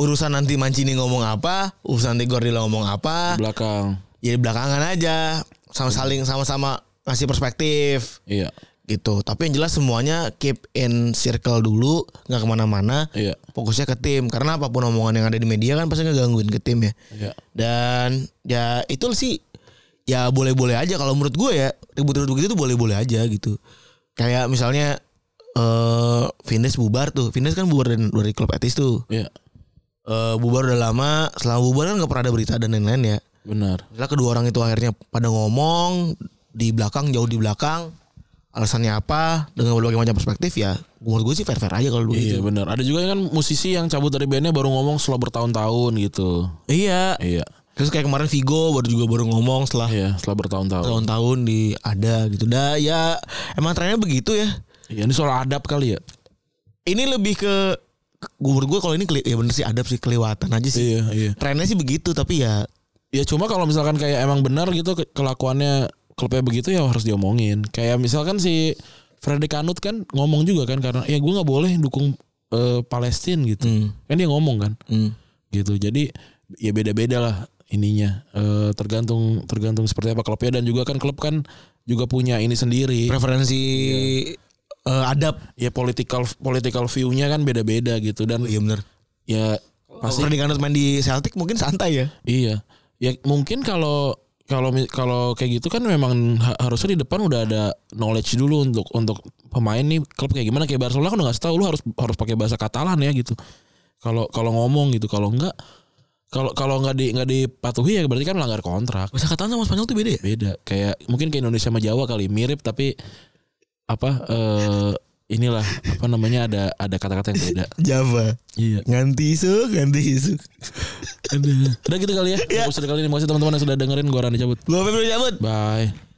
Speaker 2: urusan nanti Mancini ngomong apa, urusan nanti Guardiola ngomong apa,
Speaker 3: belakang.
Speaker 2: ya di belakangan aja sama saling sama-sama ngasih perspektif
Speaker 3: Iya.
Speaker 2: gitu. Tapi yang jelas semuanya keep in circle dulu, nggak kemana-mana.
Speaker 3: Iya.
Speaker 2: Fokusnya ke tim karena apapun omongan yang ada di media kan pasti ngegangguin ke tim ya.
Speaker 3: Iya.
Speaker 2: Dan ya itu sih ya boleh-boleh aja kalau menurut gue ya ribut-ribut begitu tuh boleh-boleh aja gitu. Kayak misalnya eh Vindes bubar tuh. Vindes kan bubar dari, dari klub etis tuh.
Speaker 3: Iya.
Speaker 2: Eh bubar udah lama, selama bubar kan gak pernah ada berita dan lain-lain ya.
Speaker 3: Benar.
Speaker 2: Setelah kedua orang itu akhirnya pada ngomong di belakang jauh di belakang alasannya apa dengan berbagai macam perspektif ya menurut gue sih fair fair aja kalau dulu gitu.
Speaker 3: Iya benar. Ada juga kan musisi yang cabut dari bandnya baru ngomong setelah bertahun-tahun gitu.
Speaker 2: Iya.
Speaker 3: Iya.
Speaker 2: Terus kayak kemarin Vigo baru juga baru ngomong setelah
Speaker 3: Iya, setelah
Speaker 2: Oh.
Speaker 3: bertahun-tahun.
Speaker 2: tahun-tahun di ada gitu. Dah ya emang trennya begitu ya.
Speaker 3: Iya, ini soal adab kali ya.
Speaker 2: Ini lebih ke menurut gue kalau ini keli- ya bener sih adab sih kelewatan aja sih.
Speaker 3: Iya, iya.
Speaker 2: Trennya sih begitu tapi ya
Speaker 3: Ya cuma kalau misalkan kayak emang benar gitu ke- kelakuannya klubnya begitu ya harus diomongin. Kayak misalkan si Freddy Kanut kan ngomong juga kan karena ya gue nggak boleh dukung eh, Palestina gitu.
Speaker 2: hmm,
Speaker 3: Kan dia ngomong kan
Speaker 2: hmm.
Speaker 3: gitu. Jadi ya beda-beda lah ininya Eh, tergantung tergantung seperti apa klubnya dan juga kan klub kan juga punya ini sendiri.
Speaker 2: preferensi eh, adab.
Speaker 3: Ya political political view-nya kan beda-beda gitu dan
Speaker 2: Iya bener.
Speaker 3: ya
Speaker 2: Pasti Freddy Kanut main di Celtic mungkin santai ya.
Speaker 3: Iya. Ya mungkin kalau kalau mi- kalau kayak gitu kan memang ha- harusnya di depan udah ada knowledge dulu untuk untuk pemain nih klub kayak gimana kayak Barcelona kan udah ngasih tahu lu harus harus pakai bahasa Katalan ya gitu. Kalau kalau ngomong gitu kalau enggak kalau kalau nggak di nggak dipatuhi ya berarti kan melanggar kontrak.
Speaker 2: Bahasa Katalan sama Spanyol tuh beda ya?
Speaker 3: Beda kayak mungkin kayak Indonesia sama Jawa kali mirip tapi apa eh inilah apa namanya ada ada kata-kata yang beda.
Speaker 2: Java.
Speaker 3: Iya.
Speaker 2: Ganti isuk, ganti isuk.
Speaker 3: Udah gitu kali ya. Episode kali ini makasih teman-teman yang sudah dengerin gua Rani cabut.
Speaker 2: Gue Febri cabut.
Speaker 3: Bye.